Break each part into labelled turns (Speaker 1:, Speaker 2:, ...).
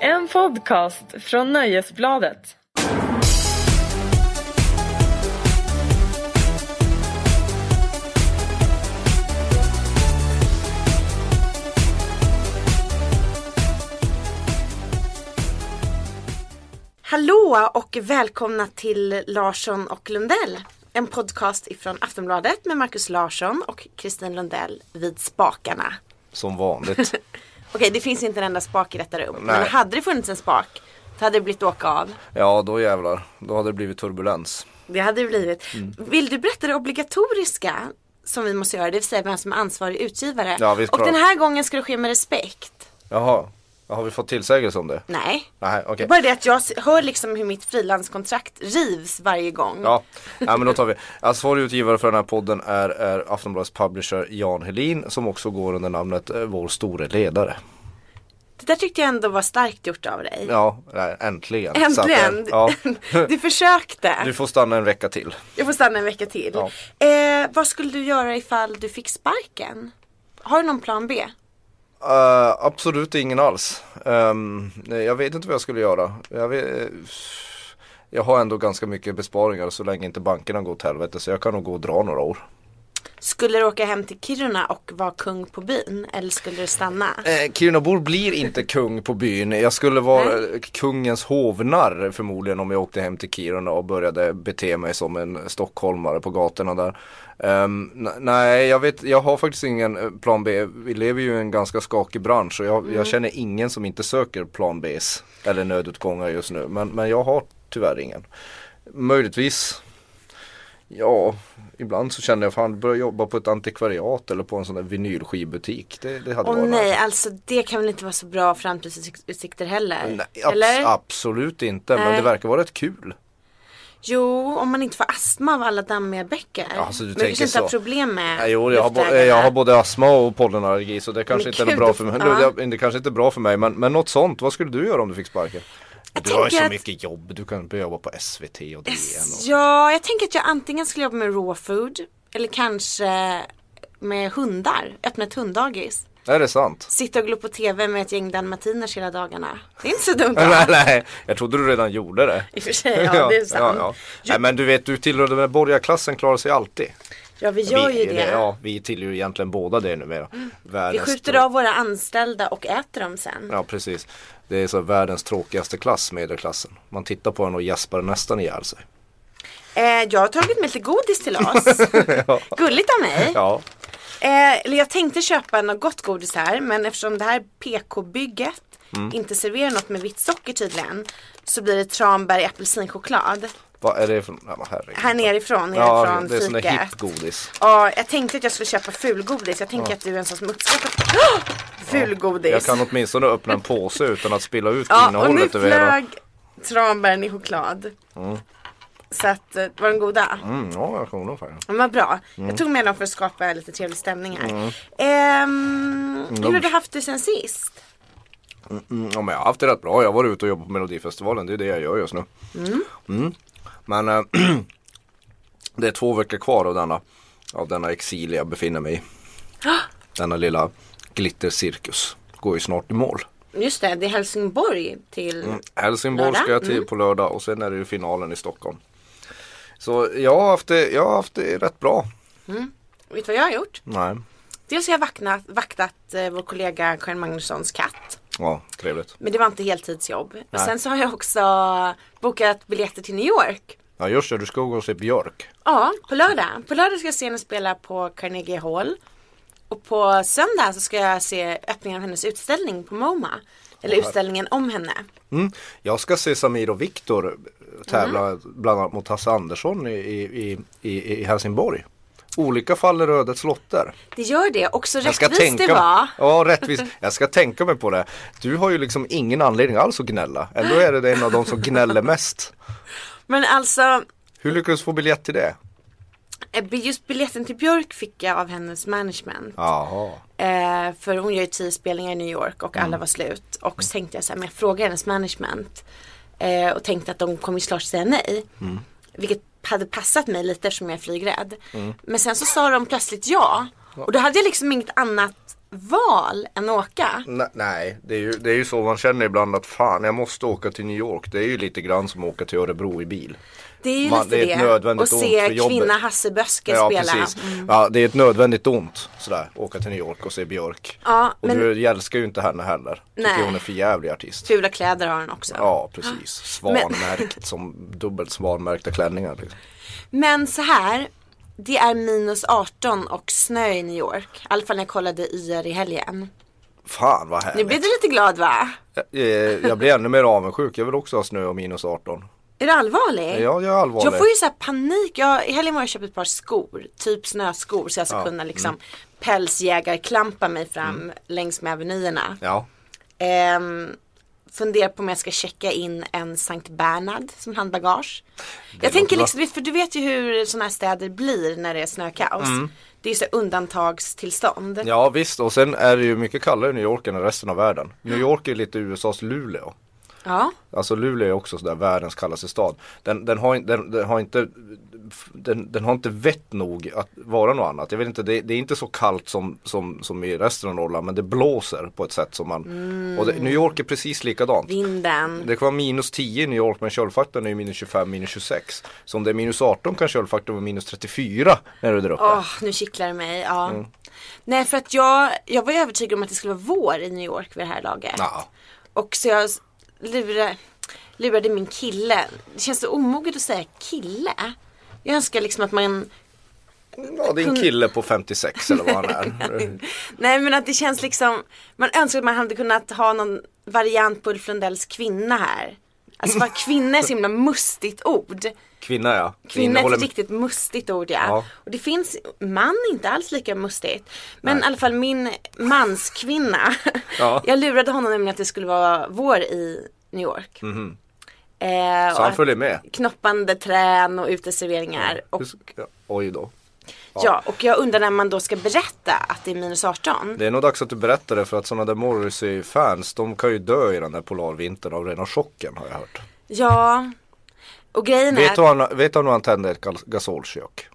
Speaker 1: En podcast från Nöjesbladet.
Speaker 2: Hallå och välkomna till Larsson och Lundell. En podcast ifrån Aftonbladet med Markus Larsson och Kristin Lundell vid spakarna.
Speaker 3: Som vanligt.
Speaker 2: Okej, det finns inte en enda spak i detta rum. Men
Speaker 3: Nej.
Speaker 2: hade det funnits en spak, då hade det blivit åka av.
Speaker 3: Ja, då jävlar. Då hade det blivit turbulens.
Speaker 2: Det hade det blivit.
Speaker 3: Mm.
Speaker 2: Vill du berätta det obligatoriska som vi måste göra, det vill säga vem som är ansvarig utgivare.
Speaker 3: Ja, visst,
Speaker 2: och
Speaker 3: bra.
Speaker 2: den här gången ska det ske med respekt.
Speaker 3: Jaha, Ja, har vi fått tillsägelse om det?
Speaker 2: Nej.
Speaker 3: Nej, okej.
Speaker 2: Bara det att jag s- hör liksom hur mitt frilanskontrakt rivs varje gång.
Speaker 3: Ja. ja, men då tar vi. Ansvarig utgivare för den här podden är, är Aftonbladets publisher Jan Helin som också går under namnet eh, Vår store ledare.
Speaker 2: Det där tyckte jag ändå var starkt gjort av dig.
Speaker 3: Ja, nej, äntligen. Så att, eh,
Speaker 2: Äntligen!
Speaker 3: ja.
Speaker 2: du försökte.
Speaker 3: Du får stanna en vecka till.
Speaker 2: Jag får stanna en vecka till.
Speaker 3: Ja.
Speaker 2: Eh, vad skulle du göra ifall du fick sparken? Har du någon plan B?
Speaker 3: Eh, absolut ingen alls. Ehm, nej, jag vet inte vad jag skulle göra. Jag, vet, eh, jag har ändå ganska mycket besparingar så länge inte bankerna går åt helvete så jag kan nog gå och dra några år.
Speaker 2: Skulle du åka hem till Kiruna och vara kung på byn? Eller skulle du stanna?
Speaker 3: Eh, Kirunabor blir inte kung på byn. Jag skulle vara eh, kungens hovnarr förmodligen om jag åkte hem till Kiruna och började bete mig som en stockholmare på gatorna där. Ehm, n- nej, jag, vet, jag har faktiskt ingen eh, plan B. Vi lever ju i en ganska skakig bransch och jag,
Speaker 2: Mm.
Speaker 3: jag känner ingen som inte söker plan Bs eller nödutgångar just nu. Men, men jag har tyvärr ingen. Möjligtvis Ja, ibland så känner jag fan börja jobba på ett antikvariat eller på en sån där vinylskivbutik. Det, det hade
Speaker 2: Åh
Speaker 3: varit
Speaker 2: nej, alltså det kan väl inte vara så bra framtidsutsikter heller?
Speaker 3: Nej, abs-
Speaker 2: eller?
Speaker 3: Absolut inte, men
Speaker 2: Nej.
Speaker 3: det verkar vara rätt kul.
Speaker 2: Jo, om man inte får astma av alla dammiga bäckar.
Speaker 3: Ja, alltså, du
Speaker 2: Men
Speaker 3: tänker
Speaker 2: kanske inte har
Speaker 3: så.
Speaker 2: problem med
Speaker 3: Nej, jo, jag, har bo-
Speaker 2: luftvägarna.
Speaker 3: jag har både astma och pollenallergi så det kanske
Speaker 2: Men
Speaker 3: inte är
Speaker 2: gud,
Speaker 3: bra för mig.
Speaker 2: ja.
Speaker 3: Ja. Det, kanske inte är bra för mig men, men något sånt, vad skulle du göra om du fick sparken? Du har ju
Speaker 2: tänker
Speaker 3: så
Speaker 2: att-
Speaker 3: mycket jobb, du kan börja jobba på SVT och DN. Och...
Speaker 2: Ja, jag tänker att jag antingen skulle jobba med raw food eller kanske med hundar, öppna ett hunddagis.
Speaker 3: Är det sant?
Speaker 2: Sitta och glo på TV med ett gäng dalmatiners hela dagarna. Det är inte så dumt.
Speaker 3: nej, nej, jag trodde du redan gjorde det.
Speaker 2: I och för sig, ja det är sant.
Speaker 3: ja.
Speaker 2: Jo,
Speaker 3: Nej, men du vet, du tillhör den här borgarklassen klarar sig alltid.
Speaker 2: ja, vi gör ju det. Mm.
Speaker 3: Ja, vi tillhör ju egentligen båda det numera.
Speaker 2: Vi
Speaker 3: Världens
Speaker 2: skjuter
Speaker 3: tråk-
Speaker 2: av våra anställda och äter dem sen.
Speaker 3: Ja precis. Det är så världens tråkigaste klass, medelklassen. Man tittar på den och gäspar nästan ihjäl sig.
Speaker 2: Eh, jag har tagit med lite godis till oss. Gulligt av mig.
Speaker 3: Ja.
Speaker 2: Eh, eller jag tänkte köpa något gott godis här men eftersom det här PK-bygget
Speaker 3: Mm.
Speaker 2: inte serverar något med vitt socker tydligen så blir det tranbär i apelsinchoklad.
Speaker 3: Vad är det för... Ja, men herregud.
Speaker 2: Här nerifrån,
Speaker 3: Ja,
Speaker 2: nerifrån
Speaker 3: det är sån där
Speaker 2: fiket.
Speaker 3: hipp godis.
Speaker 2: Ja, jag tänkte att jag skulle köpa fulgodis. Jag tänker att du är en sån som uppskattar Åh! fulgodis.
Speaker 3: Jag kan åtminstone öppna en påse utan att spilla ut
Speaker 2: ja, och nu
Speaker 3: innehållet över hela.
Speaker 2: flög tranbären i choklad. Så att, eh, var de goda?
Speaker 3: Mm, ja, jag kommer nog faktiskt.
Speaker 2: De var bra. Jag tog med dem för att skapa lite trevlig stämning här.
Speaker 3: Mm.
Speaker 2: Ehm, hur har du haft det sen sist?
Speaker 3: Mm, ja, men jag har haft det rätt bra. Jag var ute och jobbat på Melodifestivalen. Det är det jag gör just nu. Mm. Men eh, det är två veckor kvar av denna, av denna exil jag befinner mig i. Denna lilla glittercirkus går ju snart i mål.
Speaker 2: Just det, det är Helsingborg till...
Speaker 3: Mm. Helsingborg
Speaker 2: Lördag? Mm.
Speaker 3: ska jag till på lördag och sen är det ju finalen i Stockholm. Så jag har haft det, jag har haft det rätt bra.
Speaker 2: Vet du vad jag har gjort?
Speaker 3: Nej.
Speaker 2: Dels har jag vaknat, vaktat eh, vår kollega Karin Magnussons katt.
Speaker 3: Ja, trevligt.
Speaker 2: Men det var inte heltidsjobb. Och
Speaker 3: Nej.
Speaker 2: sen så har jag också bokat biljetter till New York.
Speaker 3: Ja just det, du ska gå och se Björk.
Speaker 2: Ja, på lördag. På lördag ska jag se henne spela på Carnegie Hall. Och på söndag så ska jag se öppningen av hennes utställning på MoMA. Eller utställningen om henne.
Speaker 3: Mm. Jag ska se Samir och Viktor tävla
Speaker 2: Mm.
Speaker 3: bland annat mot Hasse Andersson i, i, i, i, i Helsingborg. Olika faller ödets lotter.
Speaker 2: Det gör det. Och så
Speaker 3: Jag ska
Speaker 2: rättvist det
Speaker 3: tänka
Speaker 2: var.
Speaker 3: Ja, rättvist. Jag ska tänka mig på det. Du har ju liksom ingen anledning alls att gnälla. Ändå är det en av de som gnäller mest.
Speaker 2: Men alltså,
Speaker 3: Hur lyckades du få biljett till det?
Speaker 2: eh, just biljetten till Björk fick jag av hennes management.
Speaker 3: Jaha.
Speaker 2: Eh, för hon gör ju tio spelningar i New York och
Speaker 3: Mm.
Speaker 2: alla var slut. Och så tänkte jag så här, men jag frågar hennes management. Eh, och tänkte att de kommer ju såklart säga nej.
Speaker 3: Mm.
Speaker 2: Vilket hade passat mig
Speaker 3: Mm.
Speaker 2: lite eftersom jag är flygrädd. Men sen så sa de plötsligt ja. Och då hade jag liksom inget annat val än åka.
Speaker 3: Ne- Nej, det är, ju, det är ju så man känner ibland att fan jag måste åka till New York. Det är ju lite grann som att åka till Örebro i bil.
Speaker 2: Det är ju
Speaker 3: Man-
Speaker 2: lite
Speaker 3: det är ett nödvändigt
Speaker 2: Och
Speaker 3: ont
Speaker 2: se
Speaker 3: för jobbet.
Speaker 2: kvinna Hasseböske spela. Mm.
Speaker 3: Ja, det är ett nödvändigt ont sådär, åka till New York och se Björk.
Speaker 2: Ja,
Speaker 3: och
Speaker 2: men-
Speaker 3: du älskar ju inte henne heller. Tycker
Speaker 2: Nej.
Speaker 3: hon är för jävlig artist.
Speaker 2: Fula kläder har han också.
Speaker 3: Ja, precis. Svanmärkt som dubbelt svanmärkta klänningar. Liksom.
Speaker 2: Men så här. Det är minus 18 och snö i New York. I alla fall när jag kollade YR i helgen.
Speaker 3: Fan vad
Speaker 2: Nu
Speaker 3: härligt.
Speaker 2: blir du lite glad va?
Speaker 3: Eh, Jag blir ännu mer avundsjuk. Jag vill också ha snö och minus 18.
Speaker 2: Är du allvarlig?
Speaker 3: Ja, jag är allvarlig.
Speaker 2: Jag får ju så här panik. Jag, I helgen var jag och köpte ett par skor. Typ snöskor så jag ska kunna liksom
Speaker 3: Mm.
Speaker 2: pälsjägarklampa mig fram längs med avenyerna.
Speaker 3: Ja.
Speaker 2: Ehm, funderar på om jag ska checka in en Sankt Bernhard som handbagage.
Speaker 3: låter
Speaker 2: jag tänker
Speaker 3: bra.
Speaker 2: liksom, för du vet ju hur sådana här städer blir när det är snökaos. Det är ju så här undantagstillstånd.
Speaker 3: Mm. ja, visst. Och sen är det ju mycket kallare i New York än i resten av världen. New York är lite USAs Luleå.
Speaker 2: Ja.
Speaker 3: Alltså Luleå är också sådär världens kallaste stad. Den, den, har, in- den, den har inte den, den har inte vett nog att vara något annat. Jag vet inte, det, det är inte så kallt som, som, som i resten av Norrland men det blåser på ett sätt som man Och det, New York är precis likadant.
Speaker 2: Vinden.
Speaker 3: Det kan vara minus 10 i New York men köldfaktorn är ju minus 25, minus 26. Så om det är minus 18 kan köldfaktorn vara minus 34 när du är där uppe.
Speaker 2: Åh, nu kittlar det mig. Ja. Nej, för att jag, jag var ju övertygad om att det skulle vara vår i New York vid det här laget.
Speaker 3: Ja.
Speaker 2: Och så jag lurade, lurade min kille. Det känns så omoget att säga kille. Jag önskar liksom att man
Speaker 3: ja, det är en kille på 56 eller vad han är.
Speaker 2: Nej men att det känns liksom Man önskar att man hade kunnat ha någon variant på Ulf Lundells kvinna här Alltså vad kvinna är så himla mustigt ord
Speaker 3: Kvinna ja. Det
Speaker 2: Kvinna är
Speaker 3: innehåller-
Speaker 2: ett riktigt mustigt ord ja.
Speaker 3: Ja.
Speaker 2: Och det finns man är inte alls lika mustigt Men i alla fall min manskvinna
Speaker 3: Ja.
Speaker 2: Jag lurade honom nämligen att det skulle vara vår i New York eh,
Speaker 3: Mhm. Så
Speaker 2: och
Speaker 3: han
Speaker 2: att
Speaker 3: följer med.
Speaker 2: Knoppande trän och uteserveringar och,
Speaker 3: Hur ska- ja, Oj då.
Speaker 2: ja, och jag undrar när man då ska berätta att det är minus 18
Speaker 3: Det är nog dags att du berättar det för att sådana där Morrissey-fans de kan ju dö i den där polarvintern av rena chocken har jag hört.
Speaker 2: Ja, och grejen är
Speaker 3: Vet
Speaker 2: att
Speaker 3: du, han, vet du om han tände ett gas- gasolkök?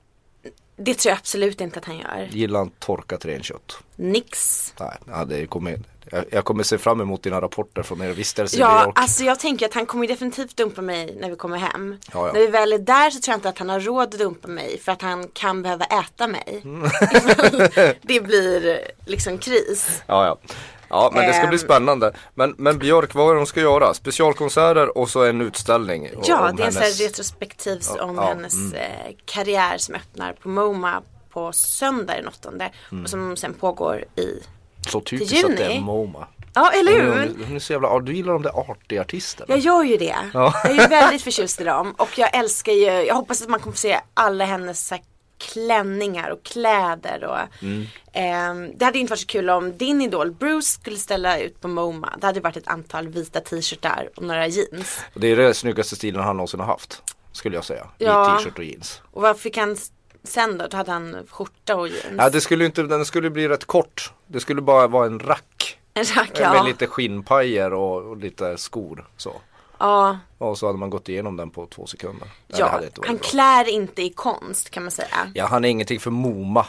Speaker 2: det tror jag absolut inte att han gör.
Speaker 3: Gillar han torkat renkött?
Speaker 2: Nix.
Speaker 3: Nej, ja, det kommer, jag, jag kommer se fram emot dina rapporter från er vistelse i New
Speaker 2: Ja,
Speaker 3: York.
Speaker 2: alltså jag tänker att han kommer ju definitivt dumpa mig när vi kommer hem.
Speaker 3: Ja, ja.
Speaker 2: När vi väl är där så tror jag inte att han har råd att dumpa mig för att han kan behöva äta mig.
Speaker 3: Mm.
Speaker 2: Ifall det blir liksom kris.
Speaker 3: Ja, ja. Ja men det ska bli
Speaker 2: Ehm.
Speaker 3: spännande. Men, men Björk, vad är det hon ska göra? Specialkonserter och så en utställning. o-
Speaker 2: Ja,
Speaker 3: om
Speaker 2: det är en sån här
Speaker 3: hennes-
Speaker 2: retrospektiv om
Speaker 3: ja, mm.
Speaker 2: hennes eh, karriär som öppnar på MoMA på söndag den åttonde
Speaker 3: Mm.
Speaker 2: och som sen pågår i
Speaker 3: Så typiskt att det är
Speaker 2: juni.
Speaker 3: MoMA.
Speaker 2: Ja, eller hur?
Speaker 3: Hon är, hon är så jävla, du gillar de där artiga artisterna.
Speaker 2: Jag gör ju det.
Speaker 3: Ja.
Speaker 2: Jag är ju väldigt förtjust i dem. Och jag älskar ju, jag hoppas att man kommer få se alla hennes så här, klänningar och kläder. Och,
Speaker 3: Mm.
Speaker 2: ehm, det hade ju inte varit så kul om din idol Bruce skulle ställa ut på MoMA. Det hade varit ett antal vita t-shirtar och några jeans.
Speaker 3: Och Det är den snyggaste stilen han någonsin har haft. Skulle jag säga.
Speaker 2: Ja.
Speaker 3: I t-shirt och jeans.
Speaker 2: Och vad fick han s- sen då? Då hade han skjorta och jeans.
Speaker 3: Ja, det skulle ju inte, den skulle bli rätt kort. Det skulle bara vara en rack.
Speaker 2: En rack,
Speaker 3: Med
Speaker 2: ja.
Speaker 3: lite skinnpajer och, och lite skor. Så.
Speaker 2: ja.
Speaker 3: Och så hade man gått igenom den på två sekunder. Nej, det
Speaker 2: ja.
Speaker 3: hade inte varit
Speaker 2: Han
Speaker 3: bra.
Speaker 2: klär inte i konst kan man säga.
Speaker 3: ja, han är ingenting för MoMA.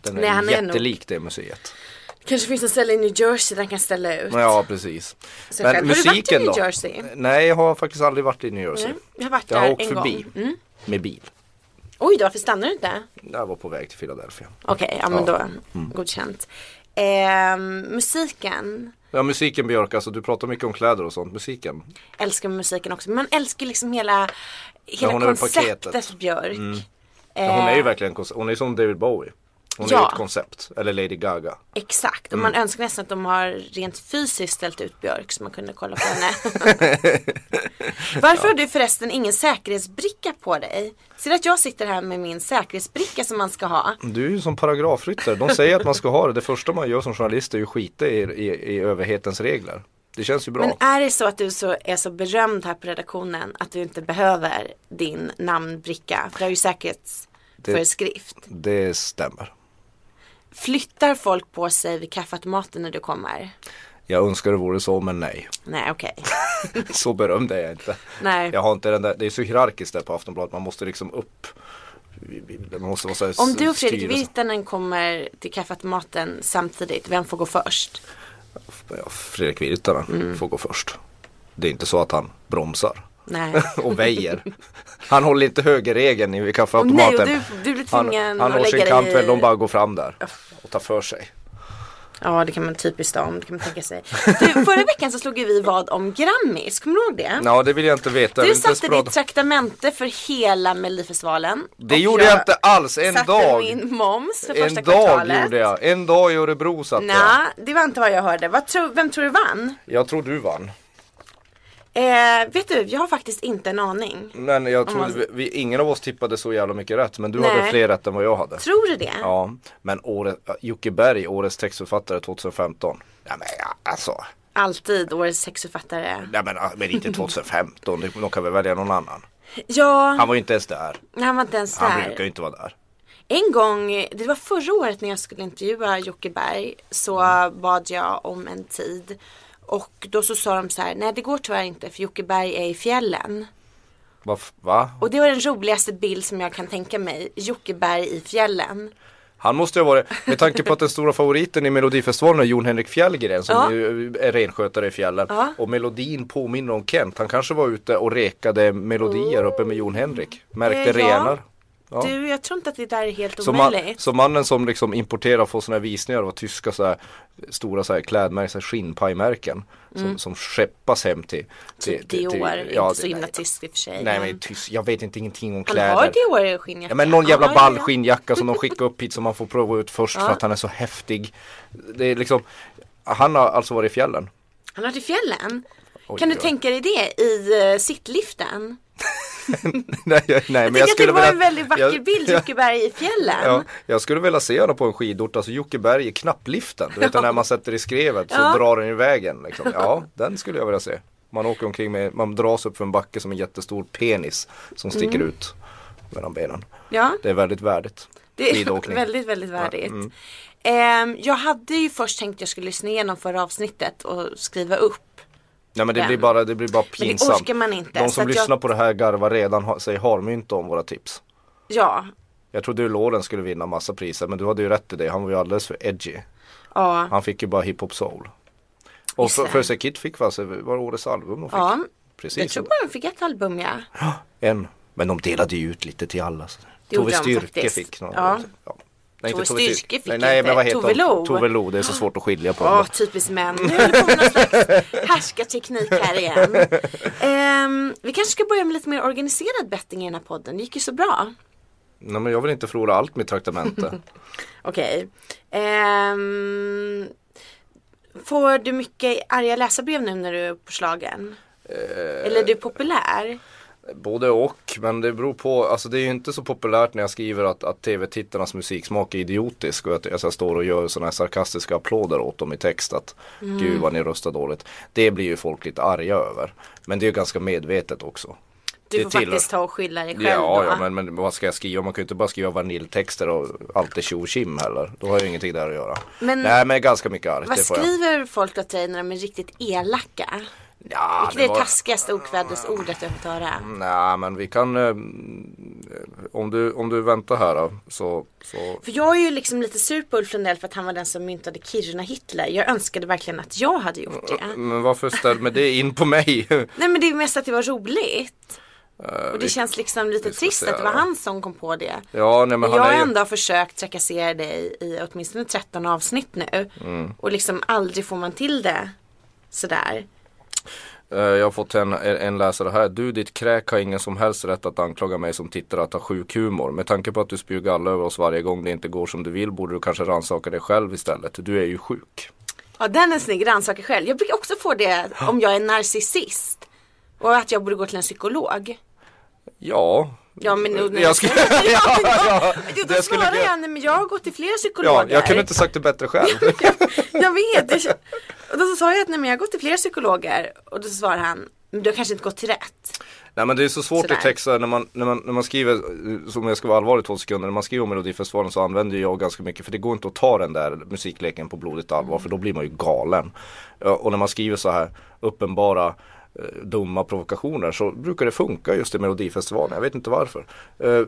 Speaker 3: Den
Speaker 2: Nej,
Speaker 3: är
Speaker 2: han är
Speaker 3: jättelik det museet.
Speaker 2: Kanske finns en ställe i New Jersey där han kan ställa ut.
Speaker 3: Ja, precis.
Speaker 2: Så själv. Har du varit i New Jersey?
Speaker 3: Nej, jag har faktiskt aldrig varit i New Jersey.
Speaker 2: Mm, Jag har varit
Speaker 3: Jag
Speaker 2: där
Speaker 3: har
Speaker 2: en
Speaker 3: åkt förbi
Speaker 2: gång. Mm.
Speaker 3: med bil.
Speaker 2: Oj då, varför stannar du inte?
Speaker 3: Jag var på väg till Philadelphia.
Speaker 2: Okej, ja men
Speaker 3: Ja. Mm.
Speaker 2: då godkänt. Ehm, musiken.
Speaker 3: Ja, musiken Björk, alltså du pratar mycket om kläder och sånt. Musiken,
Speaker 2: Älskar musiken också. Men man älskar liksom hela, hela
Speaker 3: hon är väl paketet. Mm.
Speaker 2: konceptet Björk.
Speaker 3: Ja, hon är ju
Speaker 2: Eh,
Speaker 3: verkligen konce- hon är som David Bowie. Hon är
Speaker 2: Ja.
Speaker 3: ju ett koncept. Eller Lady Gaga.
Speaker 2: Exakt, och man
Speaker 3: Mm.
Speaker 2: önskar nästan att de har rent fysiskt ställt ut Björk så man kunde kolla på henne. Varför har du förresten ingen säkerhetsbricka på dig? Ser du att jag sitter här med min säkerhetsbricka som man ska ha?
Speaker 3: Du är ju som paragrafryttare. De säger att man ska ha det. Det första man gör som journalist är ju skita i, i, i överhetens regler. Det känns ju bra.
Speaker 2: Men är det så att du så är så berömd här på redaktionen att du inte behöver din namnbricka? För det är ju säkerhetsföreskrift.
Speaker 3: Det stämmer.
Speaker 2: Flyttar folk på sig vid kaffeautomaten när du kommer?
Speaker 3: Jag önskar det vore så men nej.
Speaker 2: Nej okej.
Speaker 3: Alltså, Så berömd är jag inte.
Speaker 2: Nej.
Speaker 3: Jag har inte den där, det är så hierarkiskt där på Aftonbladet. Man måste liksom upp det måste vara så här
Speaker 2: Om du och Fredrik
Speaker 3: styre-
Speaker 2: Virtanen kommer till kaffeautomaten samtidigt, vem får gå först?
Speaker 3: Ja, Fredrik Virtanen
Speaker 2: Mm.
Speaker 3: får gå först. Det är inte så att han bromsar
Speaker 2: Nej.
Speaker 3: och väjer. han håller inte högerregeln i
Speaker 2: Och nej,
Speaker 3: kaffeautomaten.
Speaker 2: och du, du blir
Speaker 3: han
Speaker 2: tvungen
Speaker 3: han
Speaker 2: att
Speaker 3: har sin
Speaker 2: lägga
Speaker 3: kamp
Speaker 2: dig
Speaker 3: väl,
Speaker 2: i...
Speaker 3: de bara går fram där och tar för sig.
Speaker 2: Ja, det kan man typiskt om, det kan man tänka sig. Du, förra veckan så slog ju vi vad om Grammis, kommer du ihåg det?
Speaker 3: Ja, det vill jag inte veta. Jag
Speaker 2: Du
Speaker 3: vill inte ens
Speaker 2: satte
Speaker 3: prata-
Speaker 2: ditt traktamente för hela Melodifestivalen.
Speaker 3: Det
Speaker 2: Och
Speaker 3: gjorde jag inte alls, en
Speaker 2: satte
Speaker 3: dag.
Speaker 2: min moms för
Speaker 3: En
Speaker 2: första
Speaker 3: dag
Speaker 2: kvartalet.
Speaker 3: gjorde jag, en dag i Örebro satt jag.
Speaker 2: Nej, det var inte vad jag hörde. Vad tro, vem tror du vann?
Speaker 3: Jag tror du vann.
Speaker 2: Eh, vet du, jag har faktiskt inte en aning.
Speaker 3: Men jag
Speaker 2: man-
Speaker 3: tror vi, vi, ingen av oss tippade så jävla mycket rätt. Men du
Speaker 2: Nej.
Speaker 3: hade fler rätt än vad jag hade.
Speaker 2: Tror du det?
Speaker 3: Ja, men året, Jocke Berg, årets textförfattare 2015. Ja, men ja, alltså,
Speaker 2: Alltid årets sexförfattare.
Speaker 3: nej, men, ja, men inte 2015, det- de kan väl välja någon annan.
Speaker 2: Ja,
Speaker 3: Han var ju inte ens där,
Speaker 2: han var inte ens
Speaker 3: han
Speaker 2: där.
Speaker 3: brukar ju inte vara där.
Speaker 2: En gång, det var förra året när jag skulle intervjua Jocke Berg så bad jag om en tid. Och då så sa de så här, nej det går tyvärr inte för Jocke Berg är i fjällen.
Speaker 3: Va? f- va?
Speaker 2: Och det var den roligaste bild som jag kan tänka mig, Jocke Berg i fjällen.
Speaker 3: Han måste ju ha varit, med tanke på att den stora favoriten i Melodifestivalen är Jon Henrik Fjällgren som
Speaker 2: Ja.
Speaker 3: ju är renskötare i fjällen.
Speaker 2: Ja.
Speaker 3: Och melodin påminner om Kent, han kanske var ute och rekade melodier uppe med Jon Henrik. Märkte
Speaker 2: Oh. Eh, ja.
Speaker 3: renar. Ja.
Speaker 2: Du, jag tror inte att det där är helt
Speaker 3: Så, man,
Speaker 2: omöjligt.
Speaker 3: så mannen som liksom importerar och får sådana här visningar av tyska så här, stora så här klädmärken, så här skinnpajmärken som, som skeppas hem till, till,
Speaker 2: Mm. Typ Dior,
Speaker 3: ja,
Speaker 2: inte så
Speaker 3: det-
Speaker 2: himla
Speaker 3: nej,
Speaker 2: tyst i och för sig.
Speaker 3: Nej men tyst, jag vet inte ingenting om
Speaker 2: han har
Speaker 3: kläder.
Speaker 2: Dior skinnjacka.
Speaker 3: Ja, men någon jävla
Speaker 2: Ja,
Speaker 3: ball
Speaker 2: ja, ja.
Speaker 3: skinnjacka som de skickar upp hit som man får prova ut först för att han är så häftig. Det är liksom, han har alltså varit i fjällen.
Speaker 2: Han har varit i fjällen.
Speaker 3: Oj,
Speaker 2: kan du
Speaker 3: oj.
Speaker 2: tänka dig det i eh, sittliften?
Speaker 3: nej, nej, men
Speaker 2: Jag tycker att det var
Speaker 3: vilja-
Speaker 2: en väldigt vacker
Speaker 3: jag-
Speaker 2: bild,
Speaker 3: jag-
Speaker 2: Jocke Berg i fjällen.
Speaker 3: Ja, jag skulle vilja se honom på en skidort, alltså Jockeberg i knappliften. Du vet den där man sätter i skrevet så
Speaker 2: Ja.
Speaker 3: drar den i vägen. Liksom. Ja, den skulle jag vilja se. Man åker omkring med, man dras upp för en backe som en jättestor penis som sticker ut mellan benen.
Speaker 2: Mm. Ja.
Speaker 3: Det är väldigt värdigt.
Speaker 2: Det är
Speaker 3: Skidåkning. mm.
Speaker 2: väldigt, väldigt värdigt. Ehm, jag hade ju först tänkt att jag skulle lyssna igenom förra avsnittet och skriva upp.
Speaker 3: Nej men det
Speaker 2: den.
Speaker 3: blir bara, det blir bara pinsamt.
Speaker 2: orkar man inte,
Speaker 3: De
Speaker 2: så
Speaker 3: som
Speaker 2: att jag-
Speaker 3: lyssnar på det här garvar redan har, sig harmynta om våra tips.
Speaker 2: Ja,
Speaker 3: Jag trodde ju Loren skulle vinna massa priser men du hade ju rätt i det, han var ju alldeles för edgy.
Speaker 2: ja,
Speaker 3: Han fick ju bara hiphop soul. Och
Speaker 2: Just det.
Speaker 3: First Aid Kid fick alltså, var det årets album de fick?
Speaker 2: ja. Jag
Speaker 3: Precis.
Speaker 2: tror bara de fick ett album ja.
Speaker 3: En. Men de delade ju ut lite till alla. Så.
Speaker 2: Det gjorde
Speaker 3: Tove
Speaker 2: de
Speaker 3: Styrke
Speaker 2: faktiskt.
Speaker 3: fick någon.
Speaker 2: Ja.
Speaker 3: Nej,
Speaker 2: Tove
Speaker 3: inte
Speaker 2: Styrke
Speaker 3: Styrke.
Speaker 2: fick
Speaker 3: nej, nej,
Speaker 2: inte.
Speaker 3: men vad heter
Speaker 2: Tove Lo.
Speaker 3: hon? Tove Lo. Det är så svårt att skilja på
Speaker 2: Åh,
Speaker 3: dem.
Speaker 2: typiskt män. Nu är det på någon slags härskarteknik här igen. Ehm, vi kanske ska börja med lite mer organiserad betting i den här podden. Det gick ju så bra.
Speaker 3: Nej, men jag vill inte förlora allt mitt traktamente.
Speaker 2: Okej. Ehm, får du mycket arga läsarbrev nu när du är på slagen?
Speaker 3: Eh,
Speaker 2: Eller är du populär?
Speaker 3: Både och, men det beror på. Alltså det är ju inte så populärt när jag skriver att, att tv-tittarnas musiksmak är idiotisk och att jag så här står och gör sådana här sarkastiska applåder åt dem i text att
Speaker 2: Mm.
Speaker 3: gud vad ni röstar dåligt. Det blir ju folk lite arga över. Men det är ju ganska medvetet också.
Speaker 2: Du
Speaker 3: Det
Speaker 2: får
Speaker 3: tillhör-
Speaker 2: faktiskt ta och skylla dig själv
Speaker 3: Ja,
Speaker 2: då.
Speaker 3: ja men, men vad ska jag skriva? Man kan ju inte bara skriva vaniljtexter och allt är tjo och tjim heller. Då har jag ju ingenting där att göra.
Speaker 2: Men-
Speaker 3: Nej men jag är ganska mycket arg.
Speaker 2: Vad
Speaker 3: det får jag.
Speaker 2: skriver folk åt dig när de är riktigt elaka?
Speaker 3: Ja,
Speaker 2: det är det taskigaste okvädesordet jag har fått höra.
Speaker 3: Nej men vi kan, eh, om, du, om du väntar här då, så, så
Speaker 2: För jag är ju liksom lite sur på Ulf Lundell för att han var den som myntade Kiruna-Hitler. Jag önskade verkligen att jag hade gjort det.
Speaker 3: Men varför stämmer det in på mig?
Speaker 2: Nej men det är mest att det var roligt. Och det känns liksom lite
Speaker 3: vi får
Speaker 2: trist
Speaker 3: se
Speaker 2: att det var
Speaker 3: då.
Speaker 2: han som kom på det.
Speaker 3: ja, nej, men
Speaker 2: jag
Speaker 3: han
Speaker 2: har
Speaker 3: är ju...
Speaker 2: ändå försökt trakassera dig i åtminstone 13 avsnitt nu.
Speaker 3: Mm.
Speaker 2: Och liksom aldrig får man till det. Sådär.
Speaker 3: Eh, Jag har fått en, en läsare här. Du, ditt kräk har ingen som helst rätt att anklaga mig som tittare att ha sjuk humor. Med tanke på att du spyr galla över oss varje gång det inte går som du vill borde du kanske rannsaka dig själv istället. Du är ju sjuk.
Speaker 2: Ja den är snygg, rannsaka själv. Jag brukar också få det om jag är narcissist. Och att jag borde gå till en psykolog.
Speaker 3: Ja.
Speaker 2: Ja men nu, nu
Speaker 3: Jag skulle...
Speaker 2: ja, ja, jo, då
Speaker 3: jag skulle-
Speaker 2: svarar jag nej men jag har gått till flera
Speaker 3: Ja,
Speaker 2: psykologer.
Speaker 3: jag kunde inte sagt det bättre själv.
Speaker 2: Jag vet. Jag, och då så sa jag att nej men jag har gått till flera psykologer. Och då så svarar han, men du har kanske inte gått till rätt.
Speaker 3: Nej men det är så svårt
Speaker 2: Sådär.
Speaker 3: i texter när man, när, man, när man skriver, eh, som jag ska vara allvarlig i två sekunder, när man skriver om Melodifestivalen så använder jag ganska mycket för det går inte att ta den där musikleken på blodigt allvar för då blir man ju galen. Ja, Och när man skriver så här uppenbara eh, dumma provokationer så brukar det funka just i Melodifestivalen, jag vet inte varför. Eh,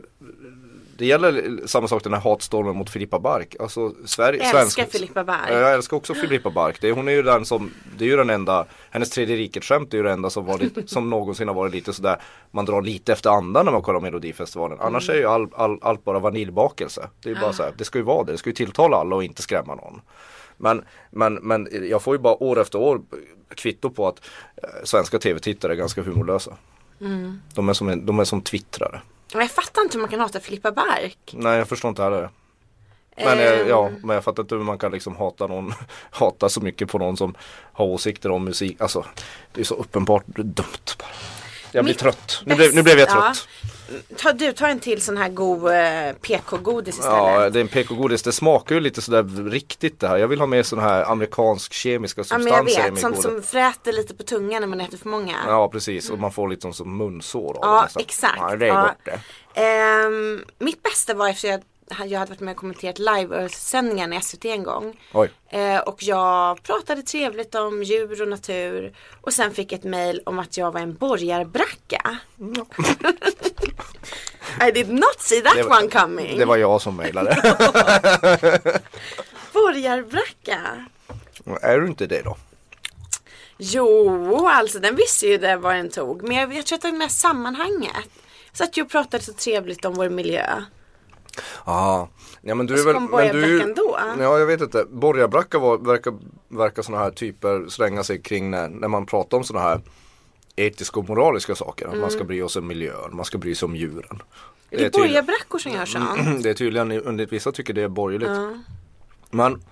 Speaker 3: Det gäller samma sak den här hatstormen mot Filippa Bark. Alltså, Sverige,
Speaker 2: Älskar
Speaker 3: svensk-
Speaker 2: Filippa Bark.
Speaker 3: Ja, Jag älskar också Filippa Bark. Det, hon är ju den som, det är ju den enda, hennes tredje riket-skämt är ju det enda som, varit, som någonsin har varit lite sådär, man drar lite efter andan när man kollar Melodifestivalen.
Speaker 2: Mm.
Speaker 3: Annars är ju all, all, allt bara vaniljbakelse. Det är ju bara så här, det ska ju vara det, det ska ju tilltala alla och inte skrämma någon. Men, men, men jag får ju bara år efter år kvitto på att eh, svenska tv-tittare är ganska humorlösa.
Speaker 2: Mm.
Speaker 3: De, är som, en- de är som twittrare.
Speaker 2: Men jag fattar inte hur man kan hata Filippa Bark.
Speaker 3: Nej jag förstår inte heller det. Men, jag,
Speaker 2: Ehm.
Speaker 3: ja, men jag fattar inte hur man kan liksom hata, någon, hata så mycket på någon som har åsikter om musik. Alltså det är så uppenbart dumt bara. Jag blir
Speaker 2: Mitt
Speaker 3: trött. Nu blev, nu blev jag trött.
Speaker 2: Ja. Ta, du, ta en till sån här god eh, PK-godis
Speaker 3: Ja,
Speaker 2: istället.
Speaker 3: det är en PK-godis. Det smakar ju lite sådär riktigt det här. Jag vill ha med sådana här amerikansk kemiska
Speaker 2: Ja, men jag
Speaker 3: substanser i
Speaker 2: vet,
Speaker 3: min
Speaker 2: sånt
Speaker 3: godis.
Speaker 2: som fräter lite på tungan när man äter för många.
Speaker 3: Ja precis och man får liksom som munsår av det
Speaker 2: Ja,
Speaker 3: nästan.
Speaker 2: exakt.
Speaker 3: Alltså, Ja, det är
Speaker 2: ja.
Speaker 3: gott det.
Speaker 2: Ehm, mitt bästa var efter jag, jag hade varit med och kommenterat live-sändningarna i SVT en gång.
Speaker 3: Oj.
Speaker 2: Eh, och jag pratade trevligt om djur och natur. Och sen fick jag ett mail om att jag var en borgarbracka. I did not see that
Speaker 3: Det var-
Speaker 2: one coming.
Speaker 3: Det var jag som mejlade.
Speaker 2: Borgarbracka.
Speaker 3: är du inte det då?
Speaker 2: Jo, alltså den visste ju det var den tog. Men jag, jag tror att det var med sammanhanget. Så att jag pratade så trevligt om vår miljö.
Speaker 3: Ja, ja men du är
Speaker 2: så
Speaker 3: väl...
Speaker 2: kom
Speaker 3: men du är
Speaker 2: borgarbrackan
Speaker 3: ju-
Speaker 2: då? ah.
Speaker 3: Ja, jag vet inte. Borgarbracka var, verkar, verkar sådana här typer slänga sig kring när, när man pratar om sådana här etiska och moraliska saker. Att man ska bry sig om miljön, man ska bry sig om djuren.
Speaker 2: Mm. Är det,
Speaker 3: är tydligen,
Speaker 2: borgarbrackor som gör sånt?
Speaker 3: det är tydligen, under- vissa tycker det är borgerligt. Men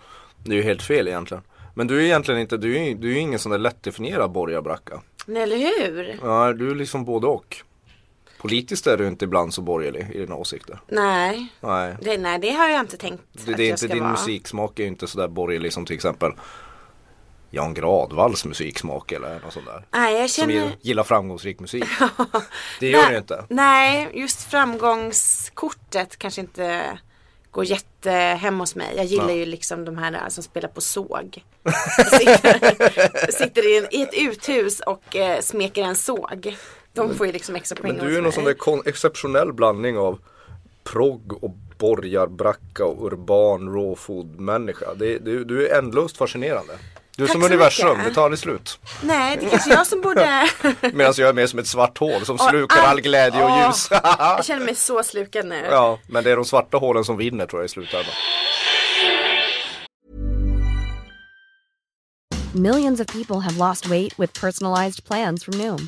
Speaker 3: det är ju helt fel egentligen. Men du är egentligen inte, du är, du är ingen sån där lättdefinierad borgarbracka.
Speaker 2: Nej, eller hur?
Speaker 3: Ja, du är liksom både och. Politiskt är du inte ibland så borgerlig i dina åsikter.
Speaker 2: Nej.
Speaker 3: Nej.
Speaker 2: Det, nej, det har jag inte tänkt
Speaker 3: Det,
Speaker 2: att
Speaker 3: det
Speaker 2: jag
Speaker 3: är inte
Speaker 2: ska
Speaker 3: din
Speaker 2: vara.
Speaker 3: musiksmak är ju inte sådär borgerlig som till exempel Jan Gradvalls musiksmak eller något sånt där.
Speaker 2: Nej, jag
Speaker 3: Som
Speaker 2: känner...
Speaker 3: gill- gillar framgångsrik musik. det gör
Speaker 2: Nej,
Speaker 3: du inte.
Speaker 2: Nej, just framgångskortet kanske inte går jätte hem hos mig. Jag gillar
Speaker 3: Nej.
Speaker 2: ju liksom de här som spelar på såg. sitter sitter i, en, i ett uthus och eh, smeker en såg. De får ju liksom extra poäng
Speaker 3: Men du är
Speaker 2: hos
Speaker 3: ju någon sån
Speaker 2: mig.
Speaker 3: där kon- exceptionell blandning av progg och borgarbracka och urban raw food människa. Det, du, du är ändlöst fascinerande. Du är
Speaker 2: Tack
Speaker 3: som
Speaker 2: så
Speaker 3: universum,
Speaker 2: mycket.
Speaker 3: det tar aldrig slut.
Speaker 2: Nej, det är kanske jag som borde...
Speaker 3: Medan jag är mer som ett svart hål som
Speaker 2: Ja,
Speaker 3: slukar all glädje och
Speaker 2: åh,
Speaker 3: ljus.
Speaker 2: jag känner mig så slukad nu.
Speaker 3: ja, men det är de svarta hålen som vinner tror jag i slutändan.
Speaker 4: Millions of people have lost weight with personalized plans from Noom,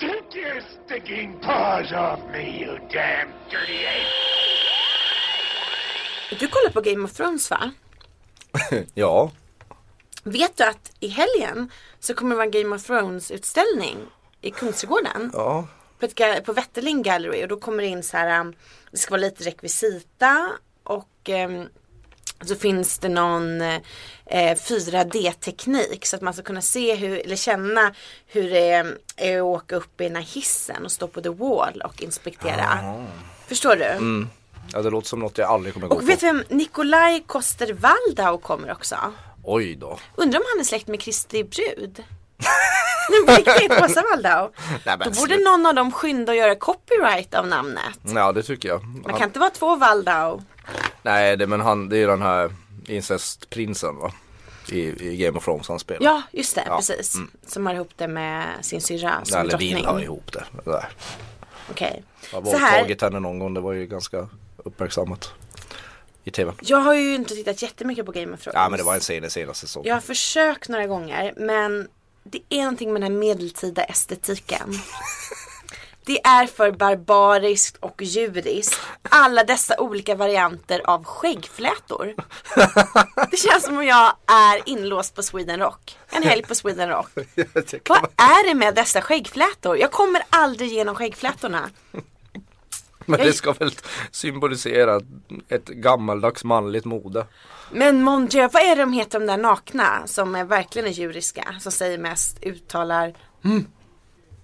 Speaker 5: Take your stinking paws off me, you damn dirty ape!
Speaker 2: Du kollar på Game of Thrones va?
Speaker 3: Ja,
Speaker 2: Vet du att i helgen så kommer det vara en Game of Thrones utställning i Kungsträdgården?
Speaker 3: ja.
Speaker 2: På, ett, ga- på Wetterling Gallery och då kommer det in så här, um, det ska vara lite rekvisita och um, så finns det någon eh, 4D-teknik så att man ska kunna se hur, eller känna hur det är att åka upp i den här hissen och stå på the wall och inspektera. Förstår du?
Speaker 3: Ja det låter som något jag aldrig kommer gå
Speaker 2: Och vet
Speaker 3: på.
Speaker 2: du vem Nikolaj Koster-Waldau kommer också?
Speaker 3: Oj då.
Speaker 2: Undrar om han är släkt med Kristi brud? Nej på riktigt, Åsa Waldau.
Speaker 3: Nej, men
Speaker 2: Då borde
Speaker 3: sluta.
Speaker 2: någon av dem skynda och göra copyright av namnet.
Speaker 3: Ja det tycker jag.
Speaker 2: Man
Speaker 3: Han,
Speaker 2: kan inte vara två Waldau.
Speaker 3: Nej det, men han, det är den här incestprinsen va? I, i Game of Thrones han spelar.
Speaker 2: Ja, just det,
Speaker 3: Ja, Mm.
Speaker 2: precis. Som har ihop det med sin syrra som
Speaker 3: Eller vill
Speaker 2: drottning.
Speaker 3: ha ihop det. det där.
Speaker 2: Okej.
Speaker 3: Jag har
Speaker 2: Så här,
Speaker 3: våldtagit henne någon gång, det var ju ganska uppmärksammat. I tv.
Speaker 2: jag har ju inte tittat jättemycket på Game of Thrones.
Speaker 3: Ja men det var en scen i senaste säsongen.
Speaker 2: Jag har försökt några gånger men det är någonting med den här medeltida estetiken. Det är för barbariskt och djuriskt. Alla dessa olika varianter av skäggflätor. Det känns som om jag är inlåst på Sweden Rock. En helg på Sweden Rock.
Speaker 3: det kan
Speaker 2: Vad är det med dessa skäggflätor? Jag kommer aldrig genom skäggflätorna.
Speaker 3: Men det ska väl symbolisera ett gammaldags manligt mode.
Speaker 2: Men mon Dieu, vad är det de heter de där nakna som är verkligen är djuriska? Som säger mest, uttalar mm.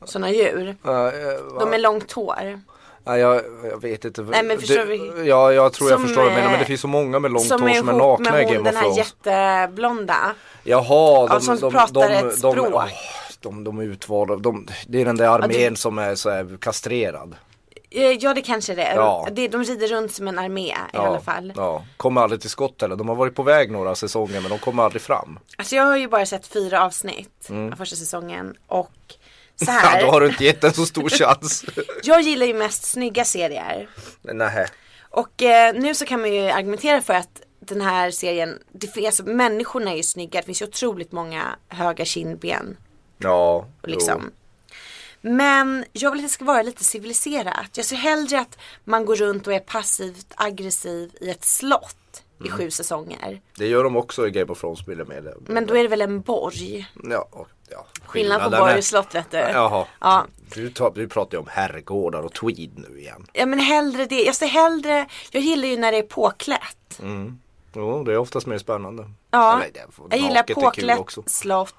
Speaker 2: sådana djur.
Speaker 3: Eh, eh, va?
Speaker 2: De med långt hår.
Speaker 3: Nej, jag, jag vet inte.
Speaker 2: Nej, men förstår
Speaker 3: det,
Speaker 2: vi-
Speaker 3: ja, jag tror jag
Speaker 2: Som,
Speaker 3: förstår vad du menar. Men det
Speaker 2: eh,
Speaker 3: finns så många med långt
Speaker 2: Som
Speaker 3: hår
Speaker 2: är
Speaker 3: som är
Speaker 2: ihop
Speaker 3: nakna i
Speaker 2: med
Speaker 3: Game
Speaker 2: hon,
Speaker 3: of
Speaker 2: den här
Speaker 3: Thrones.
Speaker 2: jätteblonda.
Speaker 3: Jaha, de,
Speaker 2: Ja, som
Speaker 3: de,
Speaker 2: pratar
Speaker 3: de,
Speaker 2: ett
Speaker 3: de,
Speaker 2: språk.
Speaker 3: åh, de, de är utvalda. De, det är den där armén
Speaker 2: Ja,
Speaker 3: som är så här kastrerad.
Speaker 2: Eh, Ja det kanske det är.
Speaker 3: Ja.
Speaker 2: Det- De rider runt som en armé i alla fall.
Speaker 3: ja. Kommer aldrig till skott heller. De har varit på väg några säsonger men de kommer aldrig fram.
Speaker 2: Alltså jag har ju bara sett fyra avsnitt av första säsongen och så
Speaker 3: Mm. Ja,
Speaker 2: här.
Speaker 3: då har du inte gett en så stor chans.
Speaker 2: Jag gillar ju mest snygga serier.
Speaker 3: Nej.
Speaker 2: Och eh, nu så kan man ju argumentera för att den här serien, det finns, alltså, människorna är ju snygga, det finns ju otroligt många höga kindben.
Speaker 3: Ja.
Speaker 2: Och liksom. Men jag vill att det ska vara lite civiliserat. Jag ser hellre att man går runt och är passivt aggressiv i ett slott i
Speaker 3: Mm.
Speaker 2: sju säsonger.
Speaker 3: Det gör de också i Game of Thrones vill jag med.
Speaker 2: Men då är det väl en borg.
Speaker 3: Ja, och- ja.
Speaker 2: Skillnad Mm. på
Speaker 3: Skillnaden
Speaker 2: borg
Speaker 3: är-
Speaker 2: och slott vet du.
Speaker 3: Jaha.
Speaker 2: Ja.
Speaker 3: Du, tar, du pratar ju om herrgårdar och tweed nu igen.
Speaker 2: ja men hellre det. Jag ser hellre, jag gillar ju när det är påklätt.
Speaker 3: Jo, det är oftast mer spännande.
Speaker 2: Ja.
Speaker 3: Mm. Eller, det-
Speaker 2: jag gillar
Speaker 3: naket är kul också.
Speaker 2: påklätt, slott.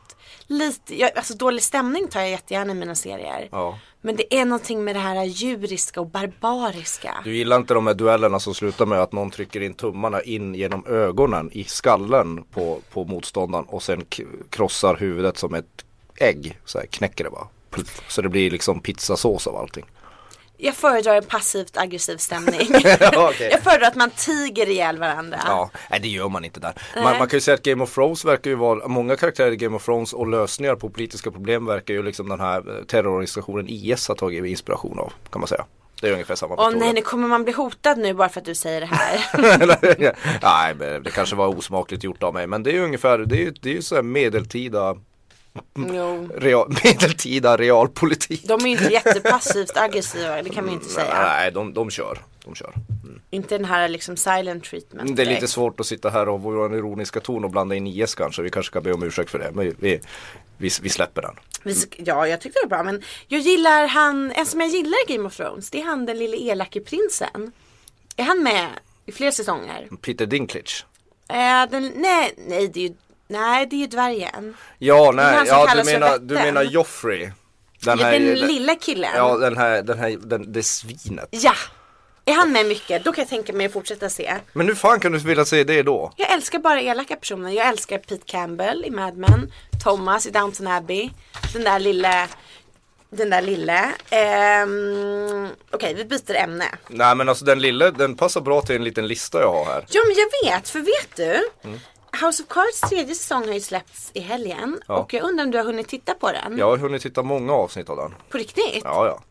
Speaker 2: Lite, jag, alltså dålig stämning tar jag jättegärna i mina serier.
Speaker 3: Ja.
Speaker 2: Men det är någonting med det här djuriska och barbariska.
Speaker 3: Du gillar inte de här duellerna som slutar med att någon trycker in tummarna in genom ögonen i skallen på, på motståndaren och sen k- krossar huvudet som ett ägg. Så här knäcker det bara. Pluff. Så det blir liksom pizzasås av allting.
Speaker 2: Jag föredrar en passivt aggressiv stämning.
Speaker 3: Ja, okej.
Speaker 2: Jag föredrar att man tiger ihjäl varandra.
Speaker 3: Ja, nej det gör man inte där.
Speaker 2: Ah. Nej.
Speaker 3: Man, man kan ju säga att Game of Thrones verkar ju vara, många karaktärer i Game of Thrones och lösningar på politiska problem verkar ju liksom den här eh, terrororganisationen IS har tagit inspiration av kan man säga. Det är ungefär samma
Speaker 2: Åh
Speaker 3: historia.
Speaker 2: nej, nu kommer man bli hotad nu bara för att du säger det här.
Speaker 3: Nej, men det kanske var osmakligt gjort av mig men det är ju ungefär, det är ju, det är ju så här medeltida,
Speaker 2: jo.
Speaker 3: real, medeltida realpolitik.
Speaker 2: De är ju inte jättepassivt aggressiva, det kan man ju inte säga.
Speaker 3: Mm, Nej, de, de kör. De kör.
Speaker 2: Inte den här liksom silent treatment.
Speaker 3: Det är lite
Speaker 2: direkt.
Speaker 3: svårt att sitta här och vår ironiska ton och blanda in IS kanske. Vi kanske ska be om ursäkt för det. Men vi, vi, vi släpper den.
Speaker 2: Vi sk- Ja, jag tyckte det var bra men jag gillar han, en som jag gillar i Game of Thrones, det är han den lille elake prinsen. Är han med i fler säsonger?
Speaker 3: Peter Dinklage.
Speaker 2: Eh, den, nej, nej det är ju, nej det är ju dvärgen.
Speaker 3: Ja,
Speaker 2: han
Speaker 3: nej,
Speaker 2: som
Speaker 3: ja, du,
Speaker 2: kallas för
Speaker 3: menar,
Speaker 2: vätten.
Speaker 3: du menar Joffrey. Den,
Speaker 2: Ja,
Speaker 3: här-
Speaker 2: den
Speaker 3: den-
Speaker 2: lilla killen.
Speaker 3: Ja, den här, den här, den, det svinet.
Speaker 2: Ja. Är han med mycket, då kan jag tänka mig att fortsätta se.
Speaker 3: Men hur fan kan du vilja se det då?
Speaker 2: Jag älskar bara elaka personer. Jag älskar Pete Campbell i Mad Men, Thomas i Downton Abbey, den där lille, den där lille. Ehm, Okej, vi byter ämne.
Speaker 3: Nej men alltså den lilla, den passar bra till en liten lista jag har här.
Speaker 2: Jo men jag vet, för vet du?
Speaker 3: Mm.
Speaker 2: House of Cards tredje säsong har ju släppts i helgen
Speaker 3: Ja.
Speaker 2: och jag undrar om du har hunnit titta på den?
Speaker 3: Jag har hunnit titta många avsnitt av den.
Speaker 2: På riktigt?
Speaker 3: Ja, ja.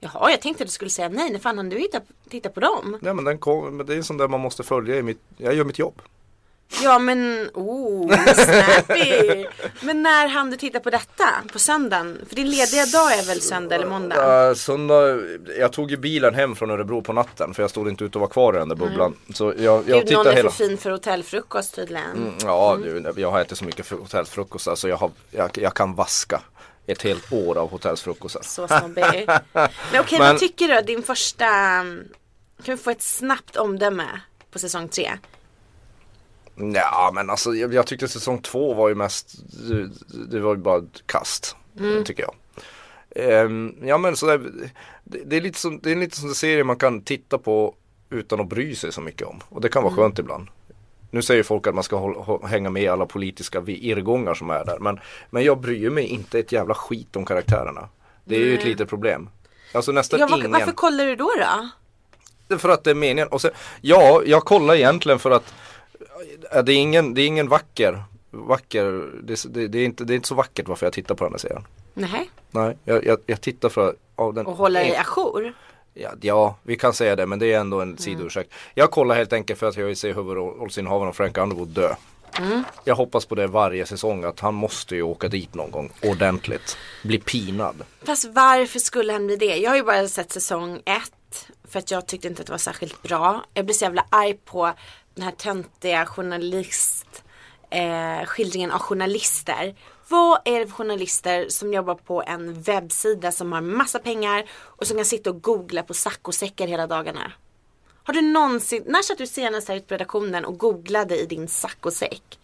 Speaker 2: Jaha, jag tänkte att du skulle säga nej, när fan hann du hitta, titta på dem?
Speaker 3: Nej men den kom, men det är en sån där man måste följa i mitt, jag gör mitt jobb.
Speaker 2: Ja men, oh, snappy! men när hann du titta på detta? På söndagen? För din lediga dag är väl söndag eller måndag?
Speaker 3: Äh, söndag, jag tog ju bilen hem från Örebro på natten för jag stod inte ute och var kvar i den där bubblan. Så jag, jag
Speaker 2: Gud, någon är
Speaker 3: tittade hela. Mm.
Speaker 2: för fin för hotellfrukost tydligen.
Speaker 3: Ja, du, jag har ätit så mycket fru- hotellfrukostar så jag, har, jag, jag kan vaska ett helt år av hotellsfrukostar.
Speaker 2: Så snobbig. Men okej,
Speaker 3: Men-
Speaker 2: vad tycker du? Din första... mm, Kan vi få ett snabbt omdöme på säsong tre?
Speaker 3: Ja men alltså jag, jag tyckte säsong två var ju mest, det, det var ju bara ett kast,
Speaker 2: Mm.
Speaker 3: tycker jag. Ehm, ja men sådär, det, det är lite som, det är lite som en serie man kan titta på utan att bry sig så mycket om. Och det kan
Speaker 2: Mm.
Speaker 3: vara skönt ibland. Nu säger folk att man ska håll, hå- hänga med i alla politiska vi- irrgångar som är där. Men, men jag bryr mig inte ett jävla skit om karaktärerna. Det är ju ett litet problem. Alltså nästan
Speaker 2: Ja, var,
Speaker 3: ingen.
Speaker 2: Varför kollar du då då?
Speaker 3: Det är för att det är meningen. Och sen, ja, jag kollar egentligen för att äh, det är ingen, det är ingen vacker, vacker, det, det, det, är inte, det är inte så vackert varför jag tittar på den här serien.
Speaker 2: Nej.
Speaker 3: Nej, jag, jag, jag tittar för att ja, den,
Speaker 2: Och hålla dig ajour?
Speaker 3: ja, ja, vi kan säga det men det är ändå en
Speaker 2: Mm.
Speaker 3: sidoursäkt. Jag kollar helt enkelt för att jag vill se huvudrollsinnehavaren Frank Underwood dö.
Speaker 2: Mm.
Speaker 3: Jag hoppas på det varje säsong att han måste ju åka dit någon gång ordentligt. Bli pinad.
Speaker 2: Fast varför skulle han bli det? Jag har ju bara sett säsong ett. För att jag tyckte inte att det var särskilt bra. Jag blir så jävla arg på den här töntiga journalist eh, skildringen av journalister. Vad är det för journalister som jobbar på en webbsida som har massa pengar och som kan sitta och googla på saccosäckar hela dagarna? Har du någonsin, när satt du senast här på redaktionen och googlade i din saccosäck?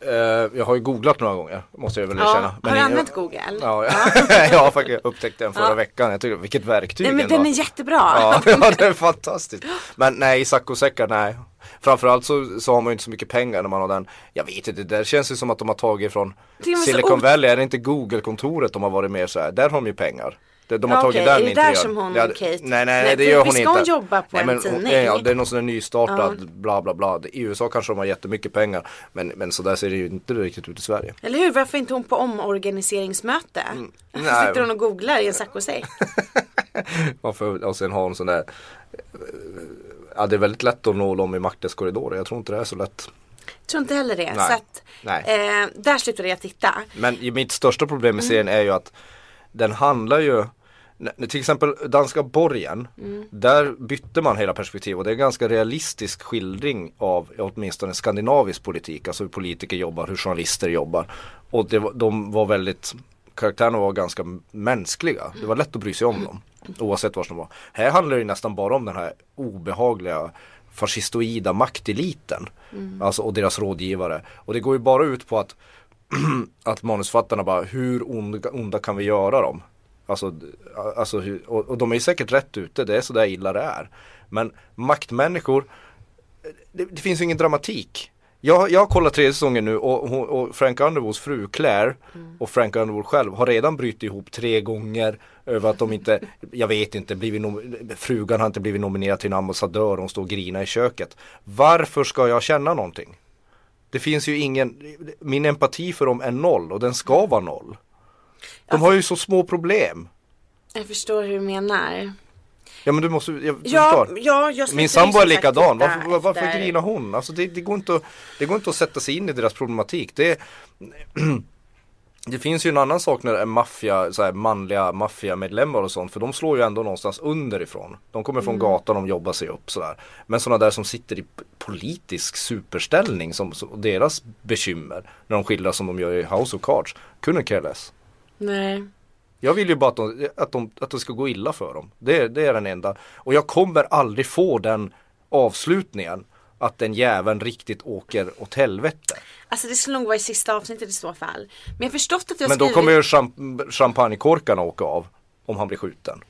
Speaker 3: Eh, jag har ju googlat några gånger, måste jag väl
Speaker 2: Ja,
Speaker 3: erkänna.
Speaker 2: har
Speaker 3: Men
Speaker 2: du
Speaker 3: i-
Speaker 2: använt Google?
Speaker 3: Ja, jag- jag har faktiskt upptäckt den förra veckan. Jag tycker, vilket verktyg
Speaker 2: Nej men
Speaker 3: ändå.
Speaker 2: den är jättebra.
Speaker 3: Ja, ja, det är fantastiskt. Men nej, saccosäckar, nej. Framförallt så, så har man ju inte så mycket pengar när man har den. Jag vet inte, det känns ju som att de har tagit från
Speaker 2: Det är väl så
Speaker 3: Silicon
Speaker 2: ot-
Speaker 3: Valley. Är det inte Google-kontoret de har varit med så här? Där har de ju pengar. De, de har
Speaker 2: Ja,
Speaker 3: tagit
Speaker 2: okej,
Speaker 3: den
Speaker 2: är det där
Speaker 3: interiören.
Speaker 2: som hon,
Speaker 3: Ja,
Speaker 2: Kate?
Speaker 3: Nej, nej, nej
Speaker 2: Nej,
Speaker 3: det
Speaker 2: för
Speaker 3: gör
Speaker 2: vi
Speaker 3: hon
Speaker 2: ska
Speaker 3: inte.
Speaker 2: hon jobba på
Speaker 3: nej,
Speaker 2: en
Speaker 3: men, hon-
Speaker 2: tidning?
Speaker 3: Ja, det är någon sån där nystartad bla bla bla. I USA kanske de har jättemycket pengar. Men, men så där ser det ju inte riktigt ut i Sverige.
Speaker 2: Eller hur, varför är inte hon på omorganiseringsmöte? Varför
Speaker 3: Mm. nej.
Speaker 2: sitter hon och googlar i en saccosäck?
Speaker 3: Man får, alltså och sen har hon sån där Ja det är väldigt lätt att nå dem i maktens korridorer. Jag tror inte det är så lätt.
Speaker 2: Tror inte heller det.
Speaker 3: Nej.
Speaker 2: Så att,
Speaker 3: Nej.
Speaker 2: Eh, där slutade jag titta.
Speaker 3: Men i- mitt största problem med serien är ju att den handlar ju n- n- till exempel danska borgen, där bytte man hela perspektiv och det är en ganska realistisk skildring av åtminstone skandinavisk politik, alltså hur politiker jobbar, hur journalister jobbar. Och det, var- de var väldigt, karaktärerna var ganska m- mänskliga, det var lätt att bry sig om dem, oavsett var de var. Här handlar det ju nästan bara om den här obehagliga fascistoida makteliten, alltså och deras rådgivare. Och det går ju bara ut på att att manusfattarna bara, hur onda, onda kan vi göra dem? Alltså, d- alltså hur- och, och de är ju säkert rätt ute, det är sådär illa det är. Men maktmänniskor, det, det finns ju ingen dramatik. Jag, jag har kollat tredje säsongen nu och, hon- och Frank Underwoods fru Claire och Frank Underwood själv har redan brutit ihop tre gånger över att de inte, jag vet inte, blivit nom- frugan har inte blivit nominerad till en ambassadör, hon står och grinar i köket. Varför ska jag känna någonting? Det finns ju ingen, min empati för dem är noll och den ska vara noll. De har ju så små problem.
Speaker 2: Jag förstår hur du menar.
Speaker 3: Ja men du måste, jag, du
Speaker 2: Ja,
Speaker 3: förstår.
Speaker 2: ja, jag
Speaker 3: Min
Speaker 2: slutade ju
Speaker 3: sambo är
Speaker 2: som sagt
Speaker 3: likadan,
Speaker 2: titta
Speaker 3: varför, var- varför
Speaker 2: efter-
Speaker 3: grinar hon? Alltså det, det, går inte att, det går inte att sätta sig in i deras problematik. Det, det finns ju en annan sak när det är maffia, så här manliga maffiamedlemmar och sånt för de slår ju ändå någonstans underifrån. De kommer från gatan, de jobbar sig upp sådär. Men sådana där som sitter i p- politisk superställning som, som deras bekymmer när de skildras som de gör i House of Cards, kunde care less.
Speaker 2: Nej.
Speaker 3: Jag vill ju bara att de, att de, att de ska gå illa för dem. Det, är- det är den enda. Och jag kommer aldrig få den avslutningen. Att den jäveln riktigt åker åt helvete.
Speaker 2: Alltså det skulle nog vara i sista avsnittet i så fall. Men jag har förstått att jag
Speaker 3: Men då
Speaker 2: skrivit...
Speaker 3: kommer ju champ champagnekorkarna åka av. Om han blir skjuten.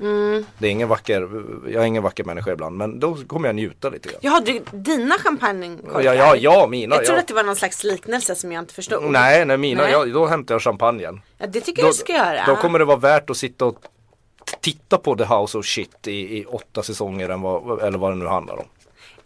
Speaker 2: Mm.
Speaker 3: Det är ingen vacker, jag är ingen vacker människa ibland. Men då kommer jag njuta lite grann.
Speaker 2: Jaha, du, dina champagnekorkar?
Speaker 3: Ja, ja, ja mina.
Speaker 2: Jag trodde
Speaker 3: ja.
Speaker 2: att det var någon slags liknelse som jag inte förstod.
Speaker 3: Nej, nej mina,
Speaker 2: Nej.
Speaker 3: Ja, då hämtar jag champagnen.
Speaker 2: Ja, det tycker
Speaker 3: Då,
Speaker 2: jag du ska göra.
Speaker 3: då kommer det vara värt att sitta och t- titta på The House of Shit i, i åtta säsonger än vad, eller vad det nu handlar om.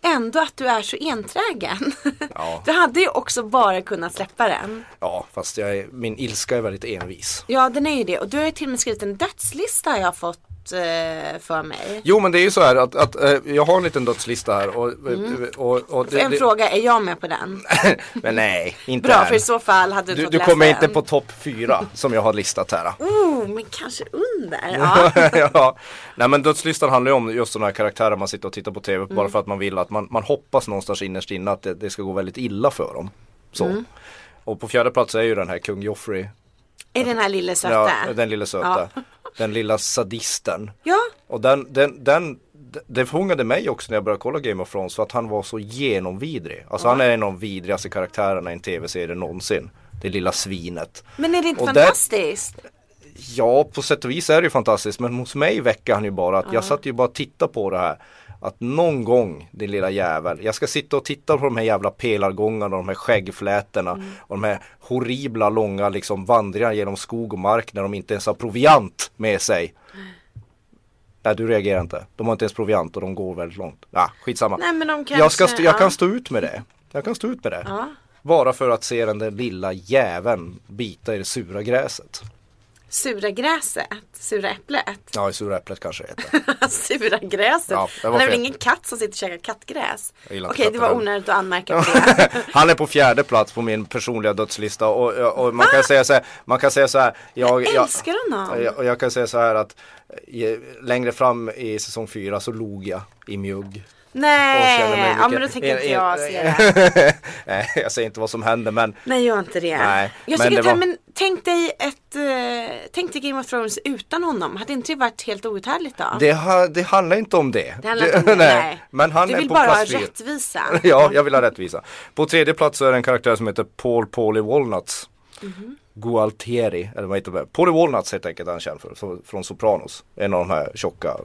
Speaker 2: Ändå att du är så enträgen.
Speaker 3: Ja.
Speaker 2: Du hade ju också bara kunnat släppa den.
Speaker 3: Ja, fast jag är, min ilska är väldigt envis.
Speaker 2: Ja, den är ju det. Och du har ju till och med skrivit en dödslista har jag har fått eh, för mig.
Speaker 3: Jo, men det är ju så här att, att eh, jag har en liten dödslista här och... eh, och, och, och det,
Speaker 2: en
Speaker 3: det-
Speaker 2: fråga, är Mm. jag med på den?
Speaker 3: Men nej, inte
Speaker 2: Bra,
Speaker 3: än.
Speaker 2: för i så fall hade du,
Speaker 3: du,
Speaker 2: fått
Speaker 3: du
Speaker 2: läsa
Speaker 3: kommer inte
Speaker 2: den.
Speaker 3: på topp fyra som jag har listat här.
Speaker 2: Oh, men kanske under. Ja.
Speaker 3: ja. Nej men dödslistan handlar ju om just sådana här karaktärer man sitter och tittar på tv
Speaker 2: Mm.
Speaker 3: bara för att man vill att man, man hoppas någonstans innerst inne att det, det ska gå väldigt illa för dem. Så.
Speaker 2: Mm.
Speaker 3: Och på fjärde plats är ju den här kung Joffrey.
Speaker 2: Är den här lille söta?
Speaker 3: Ja, den lilla söta. Den lilla sadisten.
Speaker 2: Ja.
Speaker 3: Och den, den, den, det fångade mig också när jag började kolla Game of Thrones för att han var så genomvidrig. Alltså han är en av de vidrigaste karaktärerna i en tv-serie någonsin. Det lilla svinet.
Speaker 2: Men är det inte
Speaker 3: Och där-
Speaker 2: fantastiskt?
Speaker 3: Ja, på sätt och vis är det ju fantastiskt. Men hos mig väcker han ju bara att jag satt ju bara och tittade på det här. Att någon gång, din lilla jävel, jag ska sitta och titta på de här jävla pelargångarna och de här skäggflätorna
Speaker 2: Mm.
Speaker 3: och de här horribla långa liksom vandringarna genom skog och mark när de inte ens har proviant med sig. Nej, du reagerar inte. De har inte ens proviant och de går väldigt långt. Ja, skitsamma.
Speaker 2: Nej, men de
Speaker 3: jag, ska
Speaker 2: kanske-
Speaker 3: st- jag
Speaker 2: ja.
Speaker 3: kan stå ut med det. Jag kan stå ut med det. Bara för att se den där lilla jäveln bita i det sura gräset.
Speaker 2: Sura gräset? Sura äpplet?
Speaker 3: Ja, i sura äpplet kanske det heter.
Speaker 2: Sura gräset?
Speaker 3: Ja, det var
Speaker 2: Han är väl
Speaker 3: fel.
Speaker 2: ingen katt som sitter och käkar kattgräs?
Speaker 3: Jag gillar
Speaker 2: Okej, det
Speaker 3: inte katter
Speaker 2: var
Speaker 3: heller.
Speaker 2: onödigt att anmärka på det.
Speaker 3: Han är på fjärde plats på min personliga dödslista och, och, och man kan säga så här, man kan säga så här jag,
Speaker 2: Jag älskar honom.
Speaker 3: Jag, och jag kan säga så här att eh, längre fram i säsong fyra så log jag i mjugg. och känner mig
Speaker 2: Nej, ja
Speaker 3: mycket-
Speaker 2: men då tänker inte
Speaker 3: en- en-
Speaker 2: jag se det.
Speaker 3: Nej, Eh, jag säger inte vad som hände men
Speaker 2: Nej, gör inte det.
Speaker 3: Nej,
Speaker 2: jag
Speaker 3: men
Speaker 2: tycker
Speaker 3: det
Speaker 2: att,
Speaker 3: var-
Speaker 2: men tänk dig ett, eh, tänk dig Game of Thrones utan honom. Hade inte det varit helt outhärdligt då?
Speaker 3: det, ha, det handlar inte om det.
Speaker 2: Det handlar inte om det, nej.
Speaker 3: Men han
Speaker 2: du
Speaker 3: är
Speaker 2: vill
Speaker 3: på
Speaker 2: bara ha
Speaker 3: plats fyra.
Speaker 2: rättvisa.
Speaker 3: ja, jag vill ha rättvisa. På tredje plats så är det en karaktär som heter Paul Paulie Walnuts.
Speaker 2: Mhm.
Speaker 3: Gualtieri, eller vad heter det? Paulie Walnuts helt enkelt är han känd för, så- från Sopranos. En av de här tjocka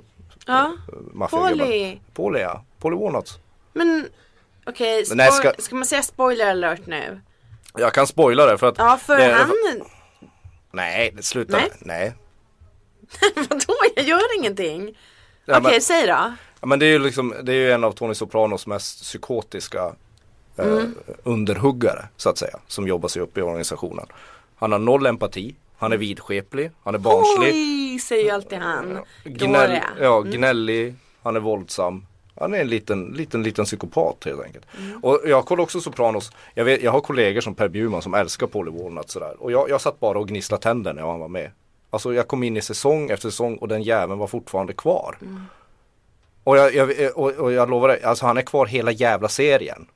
Speaker 2: Ja. Paulie.
Speaker 3: maffiagubbarna.
Speaker 2: Paulie,
Speaker 3: Paulie ja, Paulie Walnuts.
Speaker 2: Men okej, okay,
Speaker 3: nej,
Speaker 2: ska...
Speaker 3: ska-
Speaker 2: man säga spoiler alert nu?
Speaker 3: Jag kan spoila det för att
Speaker 2: Ja, för
Speaker 3: det,
Speaker 2: han,
Speaker 3: Nej, sluta.
Speaker 2: Nej.
Speaker 3: Nej. nej.
Speaker 2: vadå jag gör ingenting.
Speaker 3: Ja,
Speaker 2: okej,
Speaker 3: men-
Speaker 2: säg då.
Speaker 3: Ja, Men det är ju liksom, det är ju en av Tony Sopranos mest psykotiska
Speaker 2: Mm.
Speaker 3: eh, underhuggare så att säga. Som jobbar sig upp i organisationen. Han har noll empati, han är vidskeplig, han är barnslig.
Speaker 2: Mm. Oj, säger ju alltid han.
Speaker 3: Gnäll,
Speaker 2: Dåliga.
Speaker 3: ja, gnällig, han är våldsam. Han är en liten, liten, liten psykopat helt enkelt. Och jag kollar också Sopranos. Jag, vet, jag har kollegor som Per Bjurman som älskar Polly Walnut sådär. Och jag, jag satt bara och gnisslade tänder när han var med. Alltså jag kom in i säsong efter säsong och den jäveln var fortfarande kvar.
Speaker 2: Mm.
Speaker 3: Och, jag, jag, och, och jag lovar dig, alltså han är kvar hela jävla serien.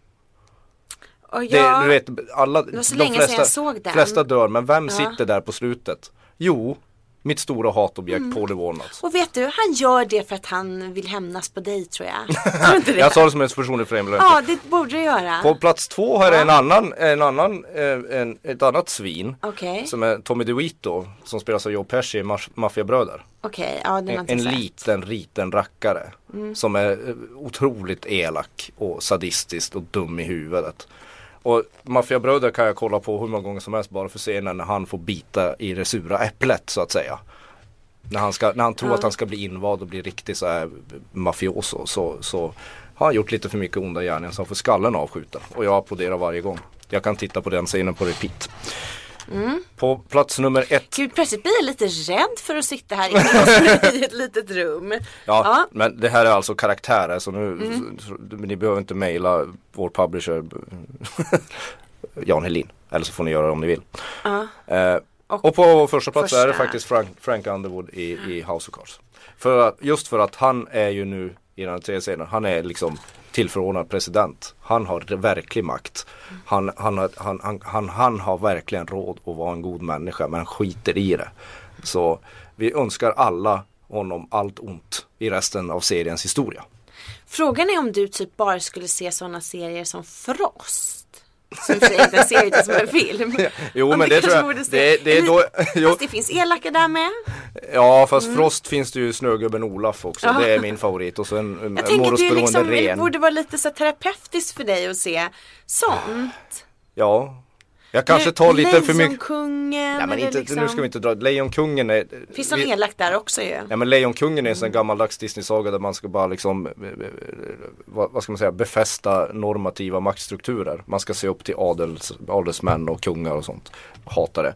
Speaker 2: Och
Speaker 3: Det,
Speaker 2: jag,
Speaker 3: du vet, alla,
Speaker 2: var så
Speaker 3: de
Speaker 2: länge sedan jag
Speaker 3: flesta,
Speaker 2: såg den.
Speaker 3: flesta dör, men vem sitter där på slutet? Jo, mitt stora hatobjekt
Speaker 2: Mm.
Speaker 3: Polly Walnut.
Speaker 2: Och vet du, han gör det för att han vill hämnas på dig tror jag. Tror du inte det?
Speaker 3: Jag sa det som en personlig främling.
Speaker 2: Ja, det borde du göra.
Speaker 3: På plats två har jag en annan, en annan, eh, en, ett annat svin.
Speaker 2: Okej.
Speaker 3: Som är Tommy DeVito som spelas av Joe Pesci i Maf- Maffiabröder.
Speaker 2: Okej, ja den har
Speaker 3: En,
Speaker 2: inte
Speaker 3: en
Speaker 2: jag sett. Mm.
Speaker 3: liten, liten rackare. Som är eh, otroligt elak och sadistisk och dum i huvudet. Och Maffiabröder kan jag kolla på hur många gånger som helst bara för scenen när han får bita i det sura äpplet så att säga. När han, ska, när han tror att han ska bli invald och bli riktig så här mafioso så, så har han gjort lite för mycket onda gärningar så han får skallen avskjuten. Och jag applåderar varje gång. Jag kan titta på den scenen på repeat.
Speaker 2: Mm.
Speaker 3: På plats nummer ett
Speaker 2: Gud, plötsligt blir jag lite rädd för att sitta här inne i ett litet rum.
Speaker 3: Ja, men det här är alltså karaktärer så nu, så- ni behöver inte mejla vår publisher Jan Helin. Eller så får ni göra det om ni vill. Eh, och, på vår första plats är det
Speaker 2: första.
Speaker 3: faktiskt Frank, Frank Underwood i, i House of Cards. För att, just för att han är ju nu i den här tredje scenen, han är liksom tillförordnad president. Han har verklig makt.
Speaker 2: Mm.
Speaker 3: Han, han, har- han, han, han, han har verkligen råd att vara en god människa men han skiter i det. Så vi önskar alla honom allt ont i resten av seriens historia.
Speaker 2: Frågan är om du typ bara skulle se sådana serier som Frost. Som i och för sig inte är en serie utan som en film.
Speaker 3: Jo,
Speaker 2: Om
Speaker 3: men
Speaker 2: du
Speaker 3: det tror
Speaker 2: kanske
Speaker 3: jag-
Speaker 2: borde se.
Speaker 3: det- det är då- jo.
Speaker 2: Fast det finns elaka där med.
Speaker 3: Ja fast
Speaker 2: Mm.
Speaker 3: Frost finns det ju Snögubben Olaf också. Det är min favorit. Och så en, en
Speaker 2: Jag tänker att det, är
Speaker 3: Morosberoende
Speaker 2: liksom, det
Speaker 3: ren.
Speaker 2: borde vara lite så här terapeutiskt för dig att se sånt.
Speaker 3: Ja. Jag kanske tar lite för mycket.
Speaker 2: Lejonkungen.
Speaker 3: Nej men
Speaker 2: eller
Speaker 3: inte,
Speaker 2: liksom...
Speaker 3: nu ska vi inte dra. Lejonkungen är.
Speaker 2: Finns någon
Speaker 3: vi-
Speaker 2: elak där också ju?
Speaker 3: Ja men Lejonkungen är en sån gammaldags Disney-saga där man ska bara liksom, eh, eh, vad, vad ska man säga, befästa normativa maktstrukturer. Man ska se upp till adels, adelsmän och kungar och sånt. Hatar det.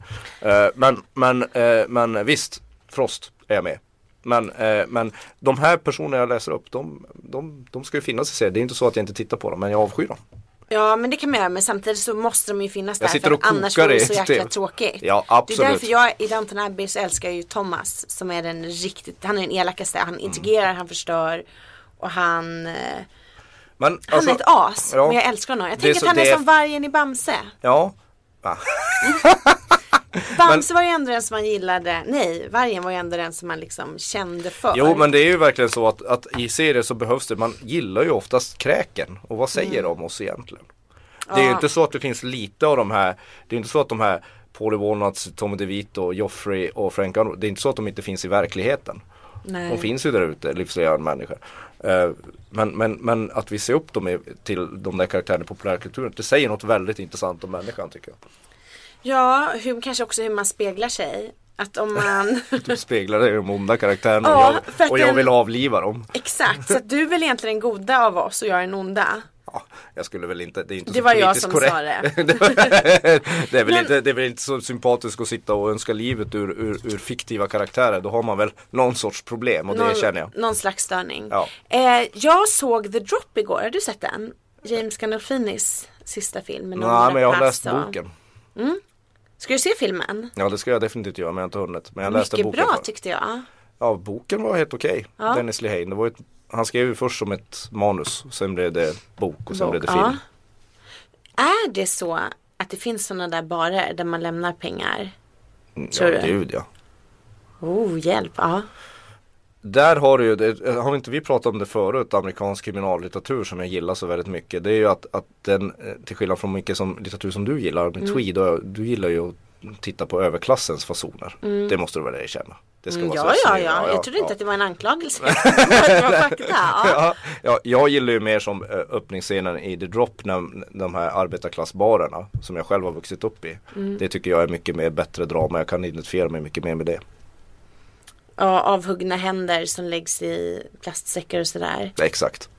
Speaker 3: Eh, men, men, eh, men visst, Frost är jag med. Men, eh, men de här personerna jag läser upp, de, de, de ska ju finnas i serien. Det är inte så att jag inte tittar på dem, men jag avskyr dem.
Speaker 2: Ja men det kan man göra men samtidigt så måste de ju finnas
Speaker 3: Jag
Speaker 2: där
Speaker 3: sitter
Speaker 2: för
Speaker 3: och kokar
Speaker 2: annars vore det så
Speaker 3: i
Speaker 2: jäkla
Speaker 3: TV.
Speaker 2: tråkigt.
Speaker 3: Ja,
Speaker 2: Det är
Speaker 3: absolut.
Speaker 2: därför jag i Downton Abbey så älskar jag ju Thomas som är den riktigt, han är den elakaste,
Speaker 3: Mm.
Speaker 2: han integrerar, han förstör och han, eh,
Speaker 3: Men,
Speaker 2: han är ett as.
Speaker 3: Alltså, ja.
Speaker 2: Men jag älskar honom. Jag
Speaker 3: Det är
Speaker 2: tänker
Speaker 3: så-
Speaker 2: att han är
Speaker 3: det är-
Speaker 2: som vargen i Bamse.
Speaker 3: Ja,
Speaker 2: Bamse var ju ändå den som man gillade, nej vargen var ju ändå den som man liksom kände för.
Speaker 3: Jo men det är ju verkligen så att, att i serier så behövs det, man gillar ju oftast kräken och vad
Speaker 2: Mm.
Speaker 3: säger de om oss egentligen? Det är ju inte så att det finns lite av de här, det är inte så att de här Paulie Walnuts, Tommy DeVito, Joffrey och Frank Underwood, det är inte så att de inte finns i verkligheten.
Speaker 2: Nej.
Speaker 3: De finns ju där ute, livslevande människor. Eh, Men, men, men att vi ser upp dem i, till de där karaktärerna i populärkulturen, det säger något väldigt intressant om människan tycker jag.
Speaker 2: Ja, hur, kanske också hur man speglar sig. Att om man
Speaker 3: Du speglar dig i de onda karaktärerna och,
Speaker 2: Ja, för att
Speaker 3: jag, och jag
Speaker 2: den-
Speaker 3: vill avliva dem.
Speaker 2: Exakt, så att du är väl egentligen den goda av oss och jag är den onda.
Speaker 3: Ja, jag skulle väl inte, det är inte
Speaker 2: Det
Speaker 3: så
Speaker 2: var jag
Speaker 3: Alltså, politiskt
Speaker 2: som
Speaker 3: korrekt.
Speaker 2: sa det.
Speaker 3: det, är väl
Speaker 2: Men-
Speaker 3: inte, det är väl inte så sympatiskt att sitta och önska livet ur, ur, ur fiktiva karaktärer. Då har man väl någon sorts problem och det känner jag.
Speaker 2: någon slags störning.
Speaker 3: Ja.
Speaker 2: Eh, jag såg The Drop igår, har du sett den? James Gandolfinis sista film. med Nobel
Speaker 3: Nej men jag har
Speaker 2: Pass
Speaker 3: läst
Speaker 2: och-
Speaker 3: boken.
Speaker 2: Ska du se filmen?
Speaker 3: Ja det ska jag definitivt göra men jag har inte hunnit. Men jag läste
Speaker 2: Mycket
Speaker 3: boken.
Speaker 2: bra
Speaker 3: för.
Speaker 2: tyckte jag.
Speaker 3: Ja boken var helt okej. Dennis Lehane. Det var ju ett Han skrev ju först som ett manus, sen blev det bok och sen
Speaker 2: Bok,
Speaker 3: blev det
Speaker 2: ja.
Speaker 3: film.
Speaker 2: Är det så att det finns sådana där barer där man lämnar pengar? Tror
Speaker 3: Mm,
Speaker 2: du?
Speaker 3: ja gud ja.
Speaker 2: Oh, hjälp. Ja.
Speaker 3: Där har du ju, det- eh, har inte vi pratat om det förut, amerikansk kriminallitteratur som jag gillar så väldigt mycket. Det är ju att, att den, eh, till skillnad från mycket som, litteratur som du gillar,
Speaker 2: Mm.
Speaker 3: med Tweed, och du gillar ju att titta på överklassens fasoner. Det måste du väl erkänna? Det ska
Speaker 2: Mm,
Speaker 3: vara så
Speaker 2: ja, ja,
Speaker 3: snygg,
Speaker 2: ja. Jag trodde
Speaker 3: ja.
Speaker 2: inte att det var en anklagelse. det var fakta. Ja.
Speaker 3: Ja, ja, jag gillar ju mer som eh, öppningsscenen i The Drop när de här arbetarklassbarerna som jag själv har vuxit upp i.
Speaker 2: Mm.
Speaker 3: Det tycker jag är mycket mer bättre drama, jag kan identifiera mig mycket mer med det.
Speaker 2: ja, avhuggna händer som läggs i plastsäckar och sådär.
Speaker 3: Exakt,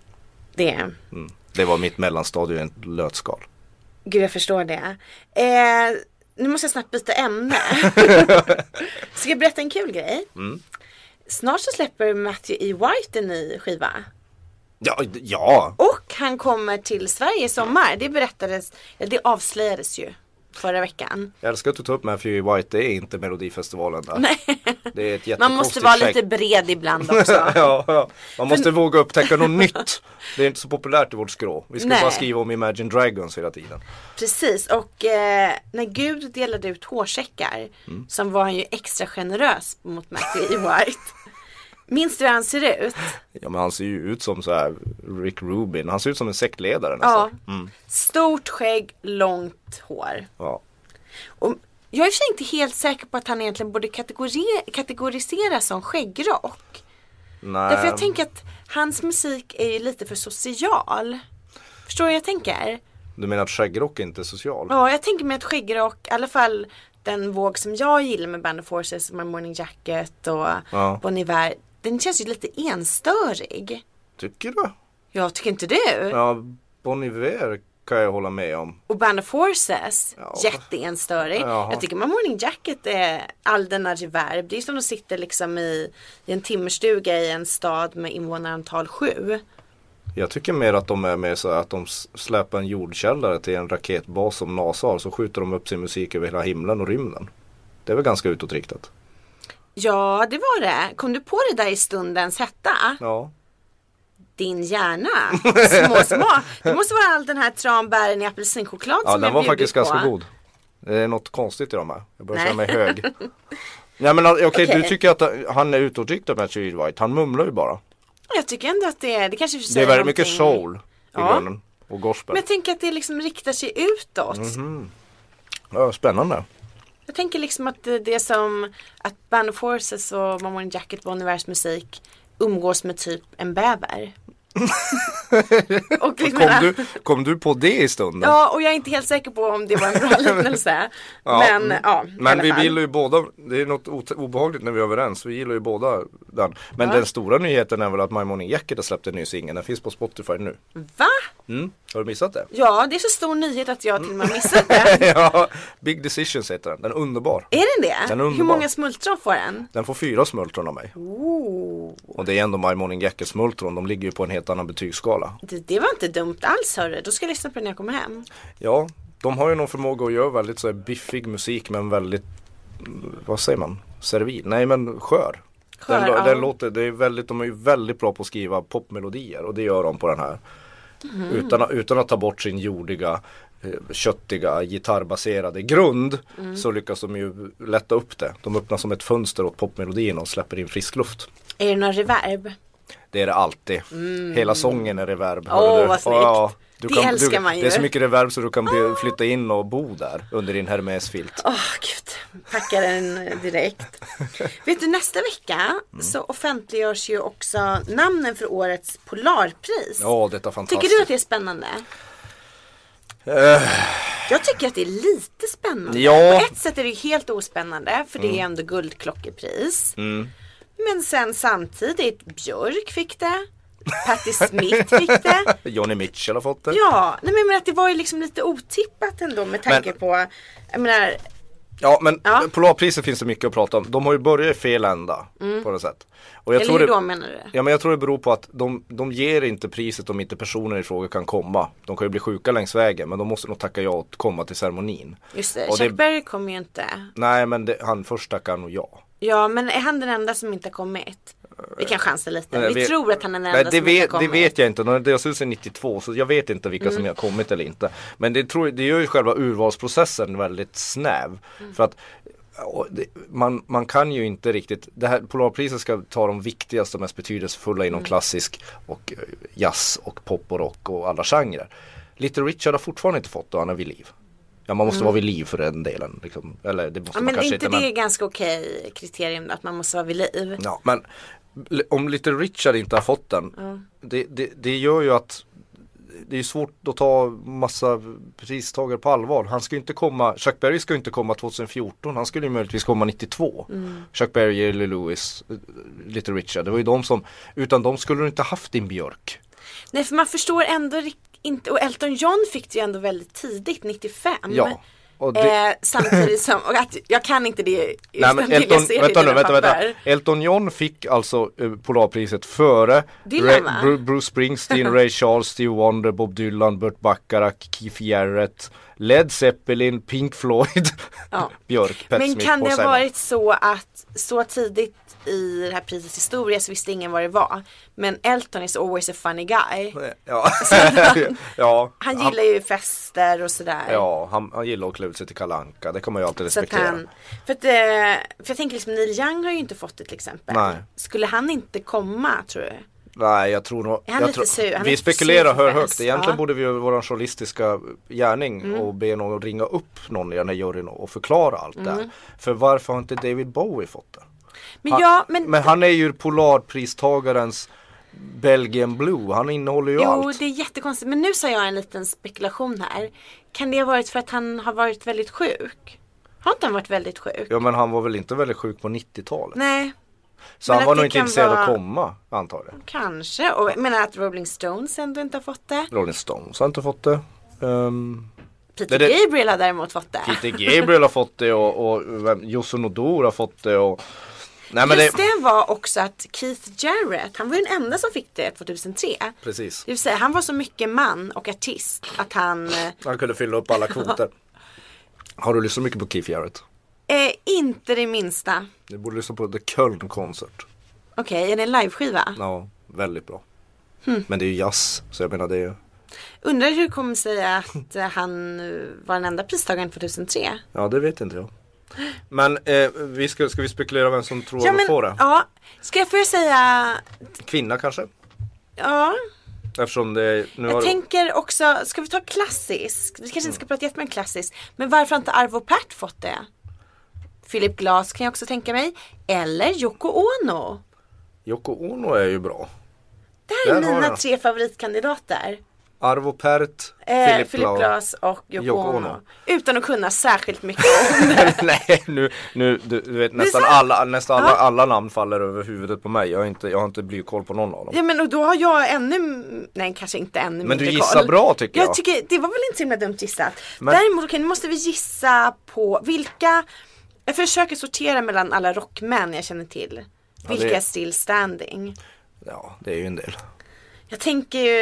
Speaker 3: Mm.
Speaker 2: Det.
Speaker 3: det var mitt mellanstadie i ett lötskal.
Speaker 2: Gud, jag förstår det. Eh, nu måste jag snabbt byta ämne. Ska jag berätta en kul grej?
Speaker 3: Mm.
Speaker 2: Snart så släpper Matthew E. White en ny skiva.
Speaker 3: Ja, d- ja.
Speaker 2: Och han kommer till Sverige i sommar. Det berättades, ja, det avslöjades ju förra veckan.
Speaker 3: jag älskar att du tar upp Matthew E. White, det är inte Melodifestivalen där. Det är ett jättekonstigt
Speaker 2: Man måste vara
Speaker 3: projekt.
Speaker 2: lite bred ibland också.
Speaker 3: ja, ja. Man måste våga upptäcka något nytt. Det är inte så populärt i vårt skrå. Vi skulle
Speaker 2: Nej.
Speaker 3: bara skriva om Imagine Dragons hela tiden.
Speaker 2: Precis och eh, när Gud delade ut hårsäckar
Speaker 3: Mm.
Speaker 2: som var han ju extra generös mot Matthew E. White. Minns du hur han ser ut?
Speaker 3: Ja men han ser ju ut som så här Rick Rubin, han ser ut som en sektledare
Speaker 2: Ja.
Speaker 3: nästan.
Speaker 2: Stort skägg, långt hår.
Speaker 3: Ja.
Speaker 2: Och jag är i och för sig inte helt säker på att han egentligen borde kategori- kategoriseras som skäggrock.
Speaker 3: Nej.
Speaker 2: Därför jag tänker att hans musik är ju lite för social. Förstår du vad jag tänker?
Speaker 3: Du menar att skäggrock inte är social?
Speaker 2: Ja, jag tänker mig att skäggrock, i alla fall den våg som jag gillar med Band of Forces, som är Morning Jacket och
Speaker 3: Ja.
Speaker 2: Bon Iver, den känns ju lite enstörig.
Speaker 3: Tycker du?
Speaker 2: Jag tycker inte du?
Speaker 3: Ja, Bon Iver kan jag hålla med om.
Speaker 2: Och Band of Forces, jätteenstörig.
Speaker 3: Jaha.
Speaker 2: Jag tycker man Morning Jacket är all denna reverb. Det är som de sitter liksom i, i en timmerstuga i en stad med invånarantal sju.
Speaker 3: Jag tycker mer att de är mer så här att de s- släpar en jordkällare till en raketbas som NASA har så skjuter de upp sin musik över hela himlen och rymden. Det är väl ganska utåtriktat?
Speaker 2: Ja, det var det. Kom du på det där i stundens hetta?
Speaker 3: Ja.
Speaker 2: Din hjärna. Små, små. Det måste vara all den här tranbären i apelsinchoklad
Speaker 3: Ja
Speaker 2: som
Speaker 3: den
Speaker 2: jag
Speaker 3: var
Speaker 2: bjudit
Speaker 3: faktiskt
Speaker 2: på.
Speaker 3: ganska god. Det är något konstigt i de här. Jag börjar
Speaker 2: Nej.
Speaker 3: känna mig hög. Nej men okej
Speaker 2: Okej.
Speaker 3: du tycker att han är utåtriktad med Cheryl White. Han mumlar ju bara.
Speaker 2: Jag tycker ändå att det är, det kanske
Speaker 3: Det är
Speaker 2: säger
Speaker 3: väldigt mycket
Speaker 2: någonting.
Speaker 3: soul i
Speaker 2: Ja.
Speaker 3: grunden. Och gospel.
Speaker 2: Men jag tänker att det liksom riktar sig utåt.
Speaker 3: Mhm. Ja, spännande.
Speaker 2: Jag tänker liksom att det, det är som att Band of Forces och Mamma and Jacket Bon Ivers musik umgås med typ en bäver. och liksom,
Speaker 3: Kom du, kom du på det i stunden?
Speaker 2: Ja, och jag är inte helt säker på om det var en bra liknelse.
Speaker 3: Ja,
Speaker 2: men
Speaker 3: mm.
Speaker 2: ja, i
Speaker 3: Men
Speaker 2: alla
Speaker 3: vi
Speaker 2: fall.
Speaker 3: gillar ju båda, det är något ot- obehagligt när vi är överens, vi gillar ju båda den. Men den stora nyheten är väl att My Morning Jacket har släppt en ny singel, den finns på Spotify nu.
Speaker 2: Va?
Speaker 3: Mm. Har du missat det?
Speaker 2: Ja, det är så stor nyhet att jag till och med har missat det.
Speaker 3: ja, Big Decisions heter den, den är underbar.
Speaker 2: Är den det?
Speaker 3: Den är
Speaker 2: Hur
Speaker 3: underbar.
Speaker 2: många smultron får den?
Speaker 3: Den får fyra smultron av mig. Och det är ändå My Morning Jacket smultron, de ligger ju på en helt annan betygsskala.
Speaker 2: Det, det var inte dumt alls hörru, då ska jag lyssna på den när jag kommer hem.
Speaker 3: Ja, de har ju någon förmåga att göra väldigt så här biffig musik men väldigt, mm, vad säger man, servil? Nej men skör.
Speaker 2: Skör,
Speaker 3: den,
Speaker 2: ja.
Speaker 3: den låter, det är väldigt, de är ju väldigt bra på att skriva popmelodier och det gör de på den här.
Speaker 2: Mm.
Speaker 3: Utan, att- utan att ta bort sin jordiga, eh, köttiga, gitarrbaserade grund
Speaker 2: Mm.
Speaker 3: så lyckas de ju lätta upp det. De öppnar som ett fönster åt popmelodierna och släpper in frisk luft.
Speaker 2: Är det någon reverb?
Speaker 3: Det är det alltid. Hela sången är reverb.
Speaker 2: Mm. Åh,
Speaker 3: hörde du.
Speaker 2: vad snyggt. Det älskar
Speaker 3: du,
Speaker 2: man ju. Ah.
Speaker 3: Det är så mycket reverb så du kan bli, flytta in och bo där under din Hermes-filt.
Speaker 2: Åh gud, packar den direkt. Vet du nästa vecka så offentliggörs ju också namnen för årets Polarpris.
Speaker 3: Ja, detta
Speaker 2: tycker
Speaker 3: är fantastiskt.
Speaker 2: du att det är spännande? Jag tycker att det är lite spännande.
Speaker 3: Eh. Ja. Mm.
Speaker 2: På ett sätt är det ju helt ospännande för det är ändå guldklockepris. Men sen samtidigt, Björk fick det. Patti Smith fick det.
Speaker 3: Johnny Mitchell har fått det.
Speaker 2: Ja, nej men jag menar att det var ju liksom lite otippat ändå med tanke
Speaker 3: Men-
Speaker 2: på, jag menar,
Speaker 3: Ja men
Speaker 2: Ja.
Speaker 3: Polarpriset finns det mycket att prata om. De har ju börjat i fel ända på något sätt. Och jag
Speaker 2: Mm. eller
Speaker 3: tror
Speaker 2: hur
Speaker 3: det,
Speaker 2: då menar du?
Speaker 3: Ja men jag tror det beror på att de, de ger inte priset om inte personen i fråga kan komma. De kan ju bli sjuka längs vägen men de måste nog tacka ja och komma till ceremonin.
Speaker 2: Just det,
Speaker 3: Och
Speaker 2: Chuck
Speaker 3: det-
Speaker 2: Berry kommer ju inte.
Speaker 3: Nej men det, han, först tackar han nog ja.
Speaker 2: Ja, men är han den enda som inte har kommit? Vi kan chansa lite.
Speaker 3: Nej,
Speaker 2: vi tror att han är den
Speaker 3: Nej,
Speaker 2: enda
Speaker 3: det
Speaker 2: som inte
Speaker 3: vet,
Speaker 2: kommer. Mm.
Speaker 3: det vet jag inte. De- Deras hus är 92 så jag vet inte vilka som har kommit eller inte. Men det, tror, det gör ju själva urvalsprocessen väldigt snäv.
Speaker 2: Mm.
Speaker 3: För att och det, man, man kan ju inte riktigt, det här Polarpriset ska ta de viktigaste och mest betydelsefulla
Speaker 2: Mm.
Speaker 3: inom klassisk och eh, jazz och pop och rock och alla genrer. Little Richard har fortfarande inte fått och han är vid liv. Ja man måste vara vid liv för den delen. Liksom. Eller det måste
Speaker 2: Mm. Ja, men
Speaker 3: man
Speaker 2: är
Speaker 3: kanske
Speaker 2: inte det är ganska okej kriterium då, att man måste vara vid liv?
Speaker 3: Ja, men l- om Little Richard inte har fått den, det, det, det gör ju att det är svårt att ta massa pristagare på allvar. Han ska ju inte komma, Chuck Berry ska ju inte komma 2014, han skulle ju möjligtvis komma 92. Chuck Berry, Jerry Lewis, eh, Little Richard, det var ju de som, utan de skulle du inte haft din Björk.
Speaker 2: Nej för man förstår ändå rik- inte, och Elton John fick det ju ändå väldigt tidigt, 95.
Speaker 3: Ja. Och det,
Speaker 2: Eh, samtidigt som, och att jag kan inte det
Speaker 3: nej
Speaker 2: utan
Speaker 3: men
Speaker 2: till jag
Speaker 3: Elton,
Speaker 2: ser det i
Speaker 3: vänta nu,
Speaker 2: dina
Speaker 3: vänta, vänta.
Speaker 2: papper.
Speaker 3: Elton John fick alltså eh, Polarpriset före
Speaker 2: Dylan,
Speaker 3: Ray-
Speaker 2: va?
Speaker 3: Bru- Bruce Springsteen, Ray Charles, Steve Wonder, Bob Dylan, Burt Bacharach, Keith Jarrett, Led Zeppelin, Pink Floyd,
Speaker 2: Ja.
Speaker 3: Björk, Pet
Speaker 2: Men
Speaker 3: Smith
Speaker 2: kan
Speaker 3: och
Speaker 2: det ha
Speaker 3: Seven.
Speaker 2: varit så att så tidigt i det här prisets historia så visste ingen vad det var. Men Elton is always a funny guy.
Speaker 3: Ja, ja.
Speaker 2: Han gillar ju fester och sådär.
Speaker 3: Ja, han, han gillar att klä ut sig till Kalanka. det kommer jag alltid
Speaker 2: Så att
Speaker 3: respektera.
Speaker 2: han, för, att, eh, för jag tänker liksom Neil Young har ju inte fått det till exempel.
Speaker 3: Nej.
Speaker 2: Skulle han inte komma tror du?
Speaker 3: Nej jag tror nog,
Speaker 2: Är han
Speaker 3: jag
Speaker 2: lite
Speaker 3: tror,
Speaker 2: sur? Han är
Speaker 3: vi
Speaker 2: lite
Speaker 3: spekulerar
Speaker 2: sur för
Speaker 3: hör
Speaker 2: fest, Mm.
Speaker 3: högt, egentligen
Speaker 2: ja.
Speaker 3: borde vi göra vår journalistiska gärning och be någon ringa upp någon i den här juryn och förklara allt
Speaker 2: Mm.
Speaker 3: det här. För varför har inte David Bowie fått det?
Speaker 2: Men
Speaker 3: Han,
Speaker 2: ja, men,
Speaker 3: han är ju Polarpristagarens Belgian Blue, han innehåller ju
Speaker 2: jo
Speaker 3: allt.
Speaker 2: det är jättekonstigt. Men nu sa jag en liten spekulation här. Kan det ha varit för att han har varit väldigt sjuk? Har inte han varit väldigt sjuk?
Speaker 3: Ja men han var väl inte väldigt sjuk på 90-talet?
Speaker 2: Nej,
Speaker 3: så
Speaker 2: men
Speaker 3: han
Speaker 2: att
Speaker 3: var nog
Speaker 2: det
Speaker 3: inte
Speaker 2: kan
Speaker 3: intresserad av att
Speaker 2: vara-
Speaker 3: komma, antar jag.
Speaker 2: kanske. Och jag menar att Rolling Stones ändå inte har fått det.
Speaker 3: Rolling Stones har inte fått det. Ehm,
Speaker 2: Peter
Speaker 3: Det- det-
Speaker 2: Gabriel har däremot fått det.
Speaker 3: Peter Gabriel har fått det och, och vem- Jussi Nodor har fått det och Nej men det,
Speaker 2: Just det var också att Keith Jarrett, han var ju den enda som fick det 2003.
Speaker 3: Precis.
Speaker 2: Det vill säga han var så mycket man och artist att han eh,
Speaker 3: Han kunde fylla upp alla kvoter. Har du lyssnat mycket på Keith Jarrett?
Speaker 2: Eh, inte det minsta.
Speaker 3: Du borde lyssna på The Köln Concert.
Speaker 2: Okej, är det en liveskiva?
Speaker 3: Ja, väldigt bra.
Speaker 2: Hm.
Speaker 3: Men det är ju jazz, så jag menar det är ju
Speaker 2: Undrar hur det kommer sig att eh, han eh, var den enda pristagaren 2003?
Speaker 3: Ja, det vet inte jag. Men eh, vi ska, ska vi spekulera vem som tror att vi får det?
Speaker 2: ja, ska jag få säga,
Speaker 3: Kvinna kanske?
Speaker 2: ja,
Speaker 3: Eftersom det nu
Speaker 2: jag
Speaker 3: har...
Speaker 2: tänker också, ska vi ta klassisk? Vi kanske
Speaker 3: Mm.
Speaker 2: inte ska prata jättemycket om klassisk, men varför har inte Arvo Pärt fått det? Philip Glass kan jag också tänka mig, eller Yoko Ono.
Speaker 3: Yoko Ono är ju bra.
Speaker 2: Det här är
Speaker 3: Där har
Speaker 2: mina
Speaker 3: jag.
Speaker 2: tre favoritkandidater.
Speaker 3: Arvo Pärt,
Speaker 2: Eh,
Speaker 3: Philip
Speaker 2: Philip
Speaker 3: Glass.
Speaker 2: Glass och Yoko,
Speaker 3: Yoko
Speaker 2: ono.
Speaker 3: Ono.
Speaker 2: Utan att kunna särskilt mycket om
Speaker 3: Nej, nu, nu du, du vet nästan
Speaker 2: sant.
Speaker 3: alla, nästan alla, alla namn faller över huvudet på mig. Jag har inte, jag har inte blivit koll på någon av dem.
Speaker 2: Ja men och då har jag ännu, nej kanske inte ännu
Speaker 3: Men du
Speaker 2: mindre
Speaker 3: gissar
Speaker 2: koll.
Speaker 3: bra, tycker jag.
Speaker 2: tycker, det var väl inte så himla dumt gissat.
Speaker 3: Men-
Speaker 2: Däremot okej, nu måste vi gissa på vilka, jag försöker sortera mellan alla rockmän jag känner till. Vilka
Speaker 3: det-
Speaker 2: är still standing?
Speaker 3: Ja, det är ju en del.
Speaker 2: Jag tänker ju,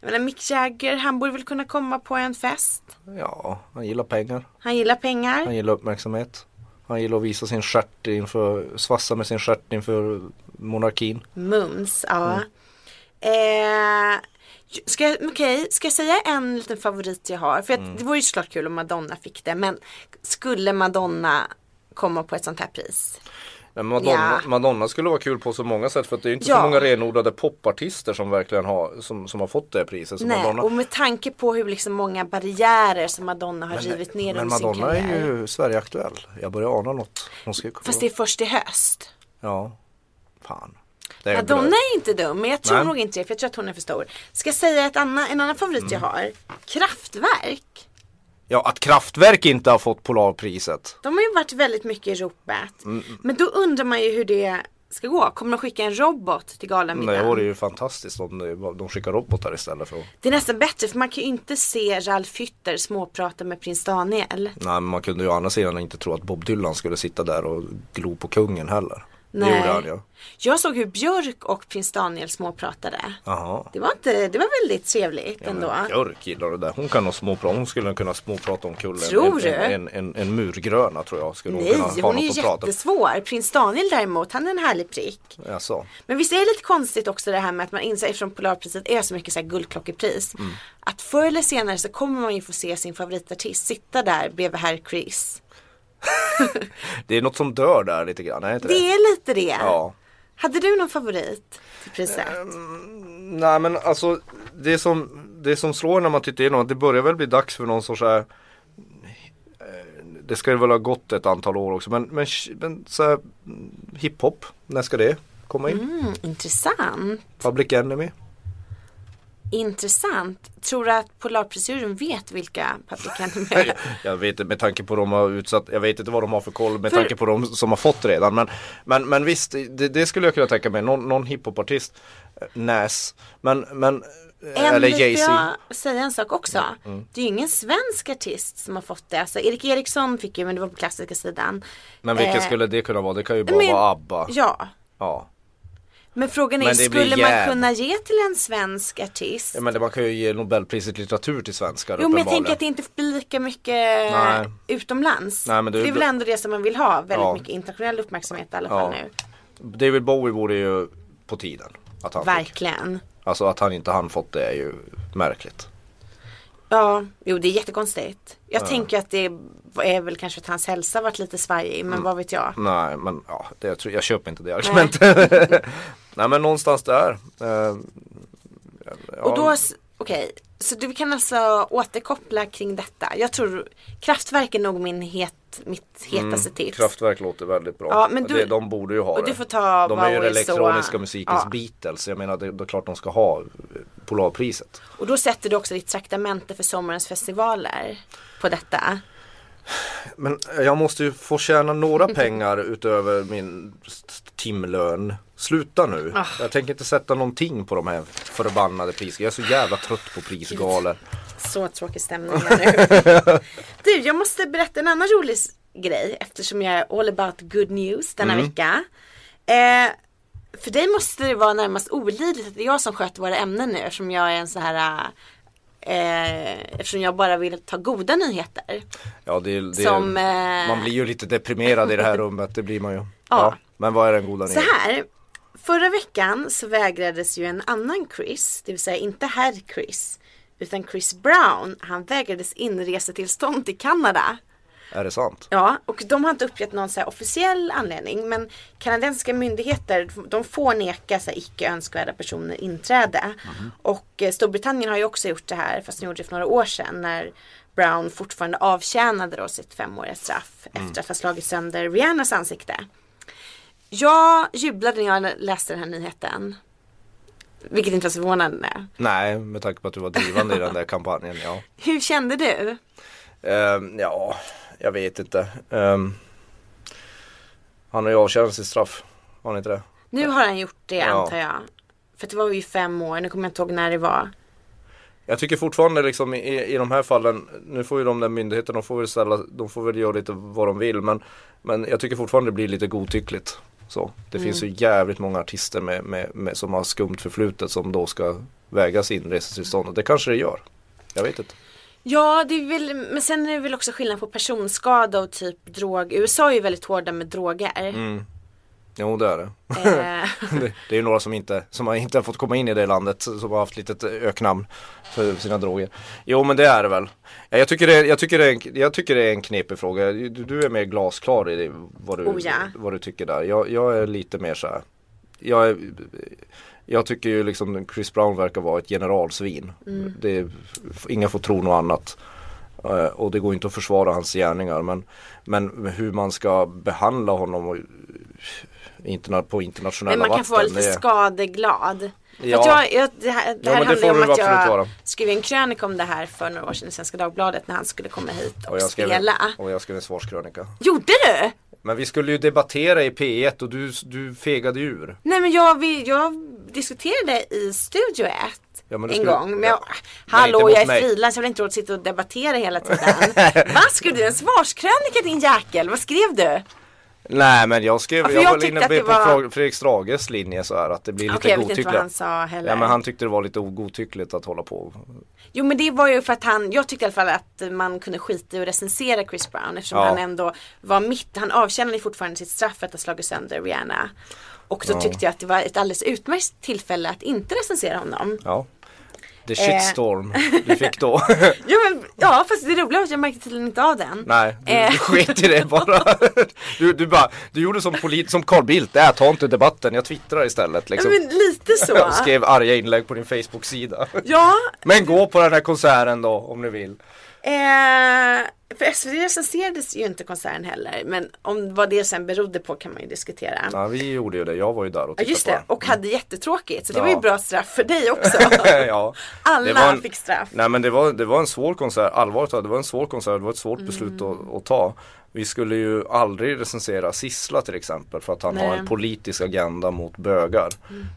Speaker 2: jag menar Mick Jagger, han borde väl kunna komma på en fest.
Speaker 3: Ja, han gillar pengar.
Speaker 2: Han gillar pengar.
Speaker 3: Han gillar uppmärksamhet. Han gillar att visa sin stjärt inför, svassa med sin stjärt inför monarkin.
Speaker 2: Mums, ja.
Speaker 3: Mm.
Speaker 2: Eh, ska, jag- okej, ska jag säga en liten favorit jag har? För att,
Speaker 3: Mm.
Speaker 2: det vore ju såklart kul om Madonna fick det. Men skulle Madonna komma på ett sånt här pris?
Speaker 3: Men Madonna,
Speaker 2: Ja.
Speaker 3: Madonna skulle vara kul på så många sätt för att det är ju inte så
Speaker 2: Ja.
Speaker 3: många renodlade popartister som verkligen har, som, som har fått det priset som
Speaker 2: Nej,
Speaker 3: Madonna.
Speaker 2: och med tanke på hur liksom många barriärer som Madonna har rivit ner
Speaker 3: Men
Speaker 2: under sin
Speaker 3: Madonna
Speaker 2: karriär.
Speaker 3: är ju Sverigeaktuell. Jag börjar ana något. Hon ska ju komma.
Speaker 2: Fast det är först i höst.
Speaker 3: Ja. Fan. Det är
Speaker 2: Madonna
Speaker 3: blöd.
Speaker 2: är inte dum, men jag tror
Speaker 3: Nej.
Speaker 2: nog inte det. För jag tror att hon är för stor. Ska jag säga ett annan, en annan favorit jag
Speaker 3: Mm.
Speaker 2: har? Kraftwerk.
Speaker 3: Ja, att Kraftwerk inte har fått Polarpriset.
Speaker 2: De har ju varit väldigt mycket i ropet.
Speaker 3: Mm.
Speaker 2: Men då undrar man ju hur det ska gå. Kommer de skicka en robot till
Speaker 3: Nej, det
Speaker 2: galamiddagen?
Speaker 3: vore ju fantastiskt om det- de skickar robotar istället för att...
Speaker 2: Det är nästan bättre för man kan ju inte se Ralf Hütter småprata med prins Daniel.
Speaker 3: Nej, men man kunde ju å andra sidan inte tro att Bob Dylan skulle sitta där och glo på kungen heller. Det gjorde han ja.
Speaker 2: Jag såg hur Björk och prins Daniel småpratade.
Speaker 3: Jaha.
Speaker 2: Det var, inte, det var väldigt trevligt
Speaker 3: Ja, men
Speaker 2: ändå.
Speaker 3: Björk gillar det där. Hon kan nog småprata. Hon skulle kunna småprata om kullen.
Speaker 2: Tror
Speaker 3: en,
Speaker 2: du?
Speaker 3: En, en, en, en murgröna tror jag. Skulle hon
Speaker 2: Nej,
Speaker 3: kunna ha
Speaker 2: hon är
Speaker 3: något
Speaker 2: ju
Speaker 3: att prata om.
Speaker 2: jättesvår. Prins Daniel däremot, han är en härlig prick.
Speaker 3: Jaså.
Speaker 2: Men visst är det lite konstigt också det här med att man inser eftersom Polarpriset är så mycket så här guldklockepris.
Speaker 3: Mm.
Speaker 2: Att förr eller senare så kommer man ju få se sin favoritartist sitta där bredvid herr Chris.
Speaker 3: Det är något som dör där lite grann, är inte det?
Speaker 2: Det är lite det.
Speaker 3: Ja. Ehm.
Speaker 2: Hade du någon favorit till priset?
Speaker 3: Nej men alltså det som, det som slår när man tittar igenom att det börjar väl bli dags för någon sorts så här, eh, Det ska ju väl ha gått ett antal år också men, men, sh- men så här, mm, hiphop, när ska det komma in?
Speaker 2: Mm, intressant.
Speaker 3: Public Enemy?
Speaker 2: Intressant. Tror du att Polarprisjuryn vet vilka Public Enemy är?
Speaker 3: Jag vet inte med tanke på de har utsatt, jag vet inte vad de har för koll med
Speaker 2: För-
Speaker 3: tanke på de som har fått redan men Men, men visst, det, det skulle jag kunna tänka mig, någon, någon hiphopartist eh, Nas, men, men eh, Eller
Speaker 2: Eller får
Speaker 3: Jay-Z Mm.
Speaker 2: jag säga en sak också? Det är ju ingen svensk artist som har fått det. Alltså, Erik Eriksson fick ju, men det var på klassiska sidan.
Speaker 3: Men vilken
Speaker 2: Eh,
Speaker 3: skulle det kunna vara? Det kan ju bara vara ABBA
Speaker 2: Ja.
Speaker 3: ja.
Speaker 2: Men frågan är,
Speaker 3: Men det blir
Speaker 2: skulle man
Speaker 3: jäv-
Speaker 2: kunna ge till en svensk artist?
Speaker 3: Ja, men det, man kan ju ge Nobelpriset i litteratur till svenskar
Speaker 2: Jo men jag
Speaker 3: uppenbarligen.
Speaker 2: tänker att det inte blir lika mycket
Speaker 3: Nej.
Speaker 2: utomlands.
Speaker 3: Nej, men det är
Speaker 2: För det
Speaker 3: ju
Speaker 2: är väl
Speaker 3: bra-
Speaker 2: ändå det som man vill ha. Väldigt
Speaker 3: Ja.
Speaker 2: mycket internationell uppmärksamhet i alla fall
Speaker 3: Ja.
Speaker 2: nu.
Speaker 3: David Bowie vore ju på tiden att han fick.
Speaker 2: Verkligen.
Speaker 3: Alltså att han inte hann fått det är ju märkligt.
Speaker 2: Ja, jo det är jättekonstigt. Jag tänker att det är väl kanske att hans hälsa varit lite svajig,
Speaker 3: Mm.
Speaker 2: men vad vet jag.
Speaker 3: Nej men ja, det, jag, tror, jag köper inte det argumentet. Nej men någonstans där. Eh, ja,
Speaker 2: Och då, s- okej, så du kan alltså återkoppla kring detta. Jag tror Kraftwerk är nog min het, mitt
Speaker 3: Mm,
Speaker 2: hetaste tips.
Speaker 3: Kraftwerk låter väldigt bra.
Speaker 2: Ja, men du-
Speaker 3: det, de borde ju ha
Speaker 2: och
Speaker 3: det.
Speaker 2: du får ta
Speaker 3: de är ju den
Speaker 2: Bowie så-
Speaker 3: elektroniska musikens
Speaker 2: ja.
Speaker 3: Beatles. Jag menar det, det är klart de ska ha eh, Polarpriset.
Speaker 2: Och då sätter du också ditt traktamente för sommarens festivaler på detta.
Speaker 3: Men eh, jag måste ju få tjäna några pengar utöver min st- timlön. Sluta nu.
Speaker 2: Ah.
Speaker 3: Jag tänker inte sätta någonting på de här förbannade priserna. Jag är så jävla trött på prisgalor.
Speaker 2: Så tråkig stämning här nu. Du, jag måste berätta en annan rolig s- grej eftersom jag är all about good news denna vecka. Eh, för dig måste det vara närmast olidligt att det är jag som sköter våra ämnen nu eftersom jag är en så här eh, Eftersom jag bara vill ta goda nyheter.
Speaker 3: Ja, det, det,
Speaker 2: Som, eh,
Speaker 3: Man blir ju lite deprimerad i det här rummet. Det blir man ju. Ja. Men vad är den goda
Speaker 2: Så
Speaker 3: nyheten?
Speaker 2: här. Förra veckan så vägrades ju en annan Chris, det vill säga inte herr Chris, utan Chris Brown. Han vägrades inresetillstånd till Kanada.
Speaker 3: Är det sant?
Speaker 2: Ja, och de har inte uppgett någon så här officiell anledning. Men kanadensiska myndigheter, de får neka så här icke önskvärda personer inträde. Och eh, Storbritannien har ju också gjort det här, fast de gjorde det för några år sedan. När Brown fortfarande avtjänade då sitt femåriga straff efter att ha slagit sönder Rihannas ansikte. Jag jublade när jag läste den här nyheten. Vilket inte var så förvånande.
Speaker 3: Nej, med tanke på att du var drivande i den där kampanjen. Ja,
Speaker 2: Hur kände du?
Speaker 3: Ehm, ja jag vet inte. Ehm, han har ju avtjänat sitt straff. Har han inte det?
Speaker 2: Nu har han gjort det
Speaker 3: Ja.
Speaker 2: antar jag. För det var ju fem år, nu kommer jag inte ihåg när det var.
Speaker 3: Jag tycker fortfarande liksom i, i de här fallen, nu får ju de där myndigheterna, de får väl ställa, de får väl göra lite vad de vill men, men jag tycker fortfarande det blir lite godtyckligt. Så, det finns ju jävligt många artister med, med, med, som har skumt förflutet som då ska vägas inresetillstånd och det kanske det gör. Jag vet inte.
Speaker 2: Ja, det är väl, men sen är det väl också skillnad på personskada och typ drog. USA är ju väldigt hårda med droger.
Speaker 3: Mm. Jo det är det.
Speaker 2: Eh,
Speaker 3: Det, det är ju några som inte, som har inte har fått komma in i det landet som har haft litet eh, öknamn för sina droger. Jo men det är det väl. Ja, Jag tycker det, jag tycker det, är, en, jag tycker det är en knepig fråga. Du, du är mer glasklar i det, vad, du,
Speaker 2: Oh, ja.
Speaker 3: vad du tycker där. Jag, jag är lite mer så här. Jag, är, jag tycker ju liksom Chris Brown verkar vara ett generalsvin.
Speaker 2: Mm.
Speaker 3: Det är, ingen får tro något annat. Eh, Och det går inte att försvara hans gärningar men, men hur man ska behandla honom och, interna, på internationella
Speaker 2: men man kan
Speaker 3: vatten.
Speaker 2: få vara lite
Speaker 3: det är-
Speaker 2: skadeglad.
Speaker 3: Ja.
Speaker 2: Ja. Att jag, jag, det här, det
Speaker 3: Ja,
Speaker 2: här
Speaker 3: men det
Speaker 2: handlar
Speaker 3: får
Speaker 2: ju om
Speaker 3: du
Speaker 2: att
Speaker 3: absolut
Speaker 2: jag
Speaker 3: vara.
Speaker 2: skrev en krönika om det här för några år sedan i Svenska Dagbladet när han skulle komma hit och,
Speaker 3: Och jag, skrev,
Speaker 2: spela.
Speaker 3: och jag skrev en svarskrönika.
Speaker 2: Gjorde du?
Speaker 3: Men vi skulle ju debattera i P1 och du, du fegade ur.
Speaker 2: Nej men jag, vi, jag diskuterade i Studio 1
Speaker 3: Ja, men
Speaker 2: en
Speaker 3: du skulle-
Speaker 2: gång. Men
Speaker 3: ja.
Speaker 2: jag,
Speaker 3: Men inte
Speaker 2: hallå
Speaker 3: mot
Speaker 2: jag är
Speaker 3: mig.
Speaker 2: frilans, jag vill inte råd att sitta och debattera hela tiden. Vad skrev du? En svarskrönika din jäkel, vad skrev du?
Speaker 3: Nej men jag skrev,
Speaker 2: Ja, för
Speaker 3: jag,
Speaker 2: jag
Speaker 3: var
Speaker 2: tyckte
Speaker 3: inne
Speaker 2: att det
Speaker 3: på
Speaker 2: var-
Speaker 3: Fredrik Strages linje så här att det blir lite
Speaker 2: Okej jag vet
Speaker 3: godtyckligt.
Speaker 2: inte vad han sa heller.
Speaker 3: Ja men han tyckte det var lite ogodtyckligt att hålla på.
Speaker 2: Jo men det var ju för att han, jag tyckte i alla fall att man kunde skita i att recensera Chris Brown eftersom
Speaker 3: Ja.
Speaker 2: han ändå var mitt, han avtjänade ju fortfarande sitt straff för att ha slagit sönder Rihanna. Och då tyckte jag att det var ett alldeles utmärkt tillfälle att inte recensera honom.
Speaker 3: Ja. The
Speaker 2: Eh.
Speaker 3: shitstorm du fick då.
Speaker 2: Ja men, ja fast det roliga var att jag märkte tydligen inte av den.
Speaker 3: Nej, du,
Speaker 2: Eh.
Speaker 3: du sket i det bara. Du, du, bara, du gjorde som, polit, som Carl Bildt, äh, ta inte debatten, jag twittrar istället
Speaker 2: Ja,
Speaker 3: liksom.
Speaker 2: men lite så.
Speaker 3: Och skrev arga inlägg på din Facebook-sida.
Speaker 2: Ja,
Speaker 3: Men gå på den här konserten då om du vill.
Speaker 2: eh, för SVT recenserades ju inte konserten heller. Men om vad det sen berodde på kan man ju diskutera.
Speaker 3: Ja, vi gjorde ju det, jag var ju där och
Speaker 2: Ja
Speaker 3: tittade
Speaker 2: just
Speaker 3: på
Speaker 2: det,
Speaker 3: den.
Speaker 2: och hade jättetråkigt. Så det
Speaker 3: Ja.
Speaker 2: var ju bra straff för dig också.
Speaker 3: ja.
Speaker 2: Alla
Speaker 3: Det var en-
Speaker 2: fick straff.
Speaker 3: Nej men det var, det var en svår konsert, allvarligt talat, det var en svår konsert, det var ett svårt beslut
Speaker 2: Mm.
Speaker 3: att, att ta. Vi skulle ju aldrig recensera Sissla till exempel för att han har
Speaker 2: Nej. Mm.
Speaker 3: en politisk agenda mot bögar.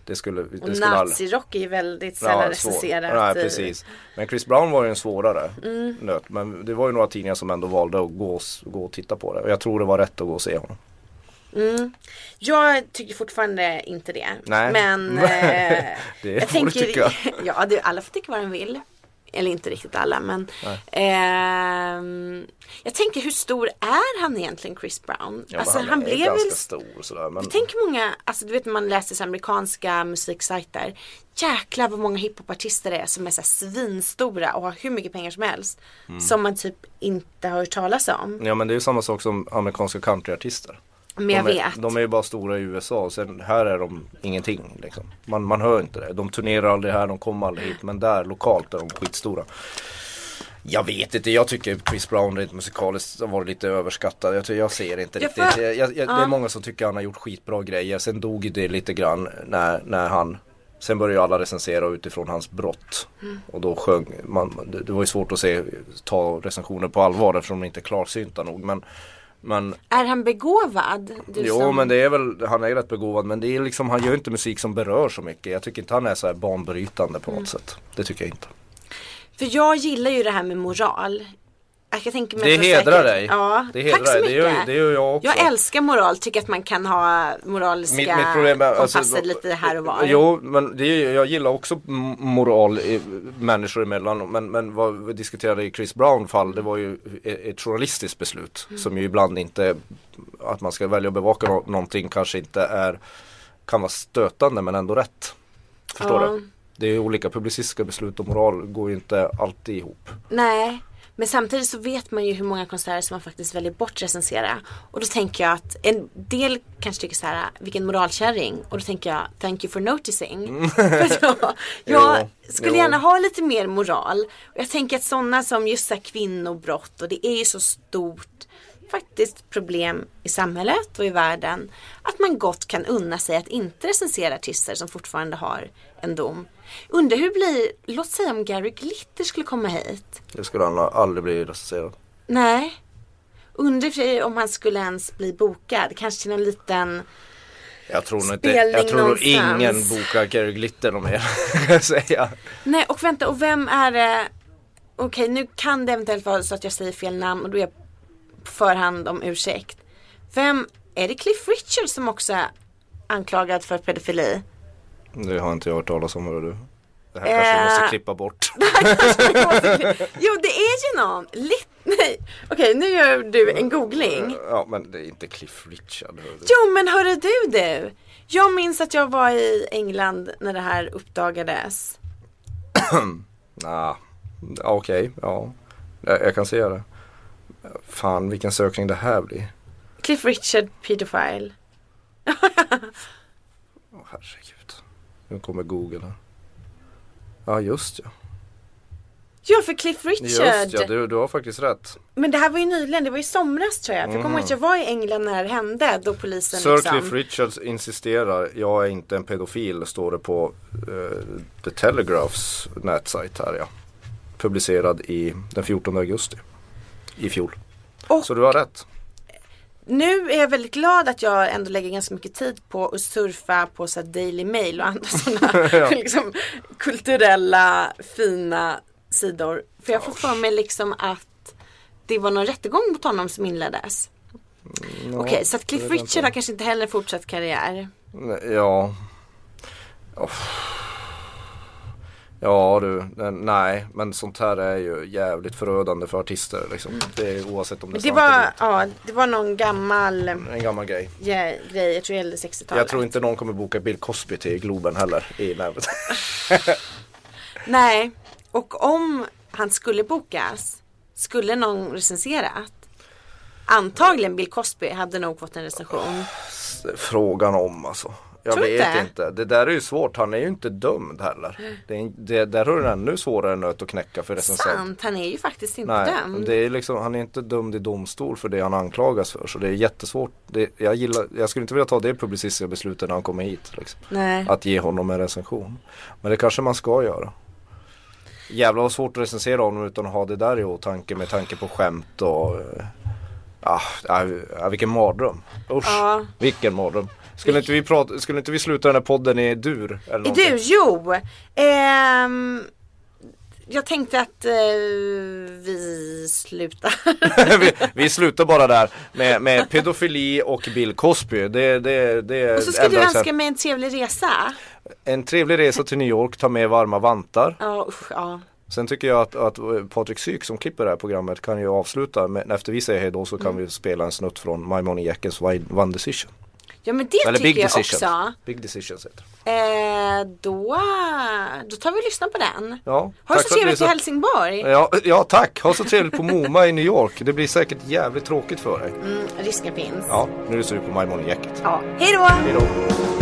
Speaker 3: Det skulle,
Speaker 2: Och
Speaker 3: det skulle aldrig...
Speaker 2: nazirock är ju väldigt
Speaker 3: Ja,
Speaker 2: sällan
Speaker 3: svår.
Speaker 2: recenserat.
Speaker 3: Nej,
Speaker 2: i-
Speaker 3: precis. Men Chris Brown var ju en svårare
Speaker 2: Mm.
Speaker 3: nöt. Men det var ju några tidningar som ändå valde att gå, gå och titta på det. Och jag tror det var rätt att gå och se honom.
Speaker 2: Jag tycker fortfarande inte det.
Speaker 3: Nej.
Speaker 2: Men eh,
Speaker 3: Det
Speaker 2: jag
Speaker 3: får du
Speaker 2: tänker,
Speaker 3: tycka.
Speaker 2: ja det, alla får tycka vad de vill. Eller inte riktigt alla men. ehm, jag tänker hur stor är han egentligen Chris Brown?
Speaker 3: Ja, men
Speaker 2: alltså han,
Speaker 3: är
Speaker 2: blev
Speaker 3: ganska
Speaker 2: väl
Speaker 3: stor sådär. Men...
Speaker 2: Tänk många, alltså du vet när man läser så här amerikanska musiksajter. Jäklar vad många hiphopartister det är som är så här svinstora och har hur mycket pengar som helst.
Speaker 3: Mm.
Speaker 2: Som man typ inte har hört talas om.
Speaker 3: Ja men det är ju samma sak som amerikanska countryartister.
Speaker 2: Men jag
Speaker 3: de, är,
Speaker 2: vet.
Speaker 3: de är ju bara stora i USA och sen här är de ingenting liksom. Man, man hör inte det. De turnerar aldrig här, de kommer aldrig hit. Men där lokalt är de skitstora. Jag vet inte, jag tycker Chris Brown rent musikaliskt har varit lite överskattad. Jag, tror- jag ser inte
Speaker 2: Jag
Speaker 3: riktigt.
Speaker 2: får-
Speaker 3: Jag, jag, jag, Det är många som tycker han har gjort skitbra grejer. Sen dog ju det lite grann när, när han Sen började ju alla recensera utifrån hans brott.
Speaker 2: Mm.
Speaker 3: Och då sjöng man, det, det var ju svårt att se, ta recensioner på allvar eftersom de inte är klarsynta nog. Men, men
Speaker 2: Är han begåvad? Du
Speaker 3: jo
Speaker 2: som...
Speaker 3: men det är väl, han är rätt begåvad men det är liksom, han gör ju inte musik som berör så mycket. Jag tycker inte han är så här banbrytande på
Speaker 2: Mm.
Speaker 3: något sätt. Det tycker jag inte.
Speaker 2: För jag gillar ju det här med moral. Jag kan tänka mig
Speaker 3: Det
Speaker 2: att man säkert-
Speaker 3: hedrar dig.
Speaker 2: Ja,
Speaker 3: Det hedrar
Speaker 2: tack så
Speaker 3: dig.
Speaker 2: mycket.
Speaker 3: Det gör- det gör jag också.
Speaker 2: Jag älskar moral, tycker att man kan ha moraliska
Speaker 3: Mitt- mitt problem är-
Speaker 2: kompasser
Speaker 3: alltså,
Speaker 2: lite här och var.
Speaker 3: Jo, men det, är ju- jag gillar också m- moral i, människor emellan. Men, men vad vi diskuterade i Chris Brown fall, det var ju e- ett journalistiskt beslut.
Speaker 2: Mm.
Speaker 3: Som ju ibland inte, att man ska välja att bevaka nå- någonting kanske inte är, kan vara stötande men ändå rätt. Förstår
Speaker 2: Ja.
Speaker 3: du? Det är ju olika publicistiska beslut och moral går ju inte alltid ihop.
Speaker 2: Nej, men samtidigt så vet man ju hur många konserter som man faktiskt väljer bort recensera. Och då tänker jag att en del kanske tycker så här, vilken moralkärring. Och då tänker jag, thank you for noticing. För jag jag
Speaker 3: Jo,
Speaker 2: skulle
Speaker 3: jo.
Speaker 2: gärna ha lite mer moral. Och jag tänker att sådana som just så här kvinnobrott och det är ju så stort faktiskt problem i samhället och i världen att man gott kan unna sig att inte recensera artister som fortfarande har en dom. Undrar hur det blir, låt säga om Gary Glitter skulle komma hit.
Speaker 3: Det skulle han aldrig bli recenserad.
Speaker 2: Nej. Undrar i och för sig om han skulle ens bli bokad. Kanske till någon liten...
Speaker 3: Jag tror nog inte, jag
Speaker 2: Spelning
Speaker 3: tror nog
Speaker 2: någonstans.
Speaker 3: ingen bokar Gary Glitter om jag kan säga.
Speaker 2: Nej och vänta, och vem är det? Okej nu kan det eventuellt vara så att jag säger fel namn och då är jag på förhand om ursäkt. Vem, är det Cliff Richard som också är anklagad för pedofili?
Speaker 3: Det har inte jag hört talas om hörru du. Det här kanske vi måste
Speaker 2: Eh.
Speaker 3: klippa bort.
Speaker 2: Jo det är ju någon! Lit- Nej, okej nu gör du en googling.
Speaker 3: Ja men det är inte Cliff Richard hörru du.
Speaker 2: Jo men hörru du du! Jag minns att jag var i England när det här uppdagades.
Speaker 3: Nah. Ja, Okej, ja. Jag, jag kan se det. Fan vilken sökning det här blir.
Speaker 2: Cliff Richard pedofil.
Speaker 3: Åh herregud. Nu kommer Google här. Ja just ja.
Speaker 2: Ja för Cliff Richard.
Speaker 3: Just ja, du, du har faktiskt rätt.
Speaker 2: Men det här var ju nyligen, det var i somras tror jag. För jag kommer ihåg att jag var i England när det här hände då polisen
Speaker 3: Mhm. Sir
Speaker 2: liksom.
Speaker 3: Cliff Richards insisterar, jag är inte en pedofil, står det på eh, The Telegraphs nätsajt här ja. Publicerad i, den 14 augusti i fjol.
Speaker 2: Och-
Speaker 3: Så du har rätt.
Speaker 2: Nu är jag väldigt glad att jag ändå lägger ganska mycket tid på att surfa på så här Daily Mail och andra sådana liksom, kulturella fina sidor. För jag får för mig liksom att det var någon rättegång mot honom som inleddes. Okej, så att Cliff Richard har kanske inte heller fortsatt karriär.
Speaker 3: Ja. Uff. Ja du, Eh, nej men sånt här är ju jävligt förödande för artister liksom. Det är oavsett om det är
Speaker 2: Mm. Men det
Speaker 3: sant eller
Speaker 2: var,
Speaker 3: inte.
Speaker 2: ja, det var någon gammal eh,
Speaker 3: En gammal grej.
Speaker 2: grej, jag tror det gällde 60-talet.
Speaker 3: Jag tror inte någon kommer boka Bill Cosby till Globen heller i nävet.
Speaker 2: Nej, och om han skulle bokas, skulle någon recenserat? Antagligen Bill Cosby hade nog fått en recension.
Speaker 3: Frågan om alltså. Jag
Speaker 2: Tror
Speaker 3: vet
Speaker 2: inte. Mm.
Speaker 3: inte. Det där är ju svårt. Han är ju inte dömd heller. Det, är, en- det där har du en ännu svårare nöt att knäcka för recensent.
Speaker 2: Sant, han är ju faktiskt inte
Speaker 3: Nej,
Speaker 2: dömd.
Speaker 3: det är liksom, han är inte dömd i domstol för det han anklagas för. Så det är jättesvårt. Det, jag, gillar, jag skulle inte vilja ta det publicistiska beslutet när han kommer hit. Liksom.
Speaker 2: Nej.
Speaker 3: Att ge honom en recension. Men det kanske man ska göra. Jävlar vad svårt att recensera honom utan att ha det där i åtanke med tanke på skämt och... eh, Ah, ah, ah, vilken mardröm. Usch,
Speaker 2: Ja.
Speaker 3: vilken mardröm. Skulle inte, vi prata, skulle inte vi sluta den här podden i dur? Eller
Speaker 2: Är
Speaker 3: någonting?
Speaker 2: du, jo. Ehm, jag tänkte att eh, vi slutar.
Speaker 3: vi, vi slutar bara där med, med pedofili och Bill Cosby. Det, det, det
Speaker 2: Och så ska du
Speaker 3: ändrar sig.
Speaker 2: önska mig en trevlig resa.
Speaker 3: En trevlig resa till New York, ta med varma vantar.
Speaker 2: Ja, usch, ja.
Speaker 3: Sen tycker jag att, att Patrik Syk som klipper det här programmet kan ju avsluta. Men efter vi säger hej då så kan
Speaker 2: Mm.
Speaker 3: vi spela en snutt från My Money Jackens One Decision.
Speaker 2: ja men det
Speaker 3: Eller Big
Speaker 2: tycker jag
Speaker 3: Decisions.
Speaker 2: också.
Speaker 3: Big Decisions heter det.
Speaker 2: Eh, då, då tar vi och lyssnar på den.
Speaker 3: Ja,
Speaker 2: ha det
Speaker 3: tack för att
Speaker 2: så
Speaker 3: du
Speaker 2: trevligt i
Speaker 3: lyssnade.
Speaker 2: Helsingborg.
Speaker 3: Ja, ja tack, ha så trevligt på MoMA i New York. Det blir säkert jävligt tråkigt för dig.
Speaker 2: Mm, risken finns.
Speaker 3: Ja, nu ser vi på My Money Jacket.
Speaker 2: Ja. Hej då!
Speaker 3: Hej då.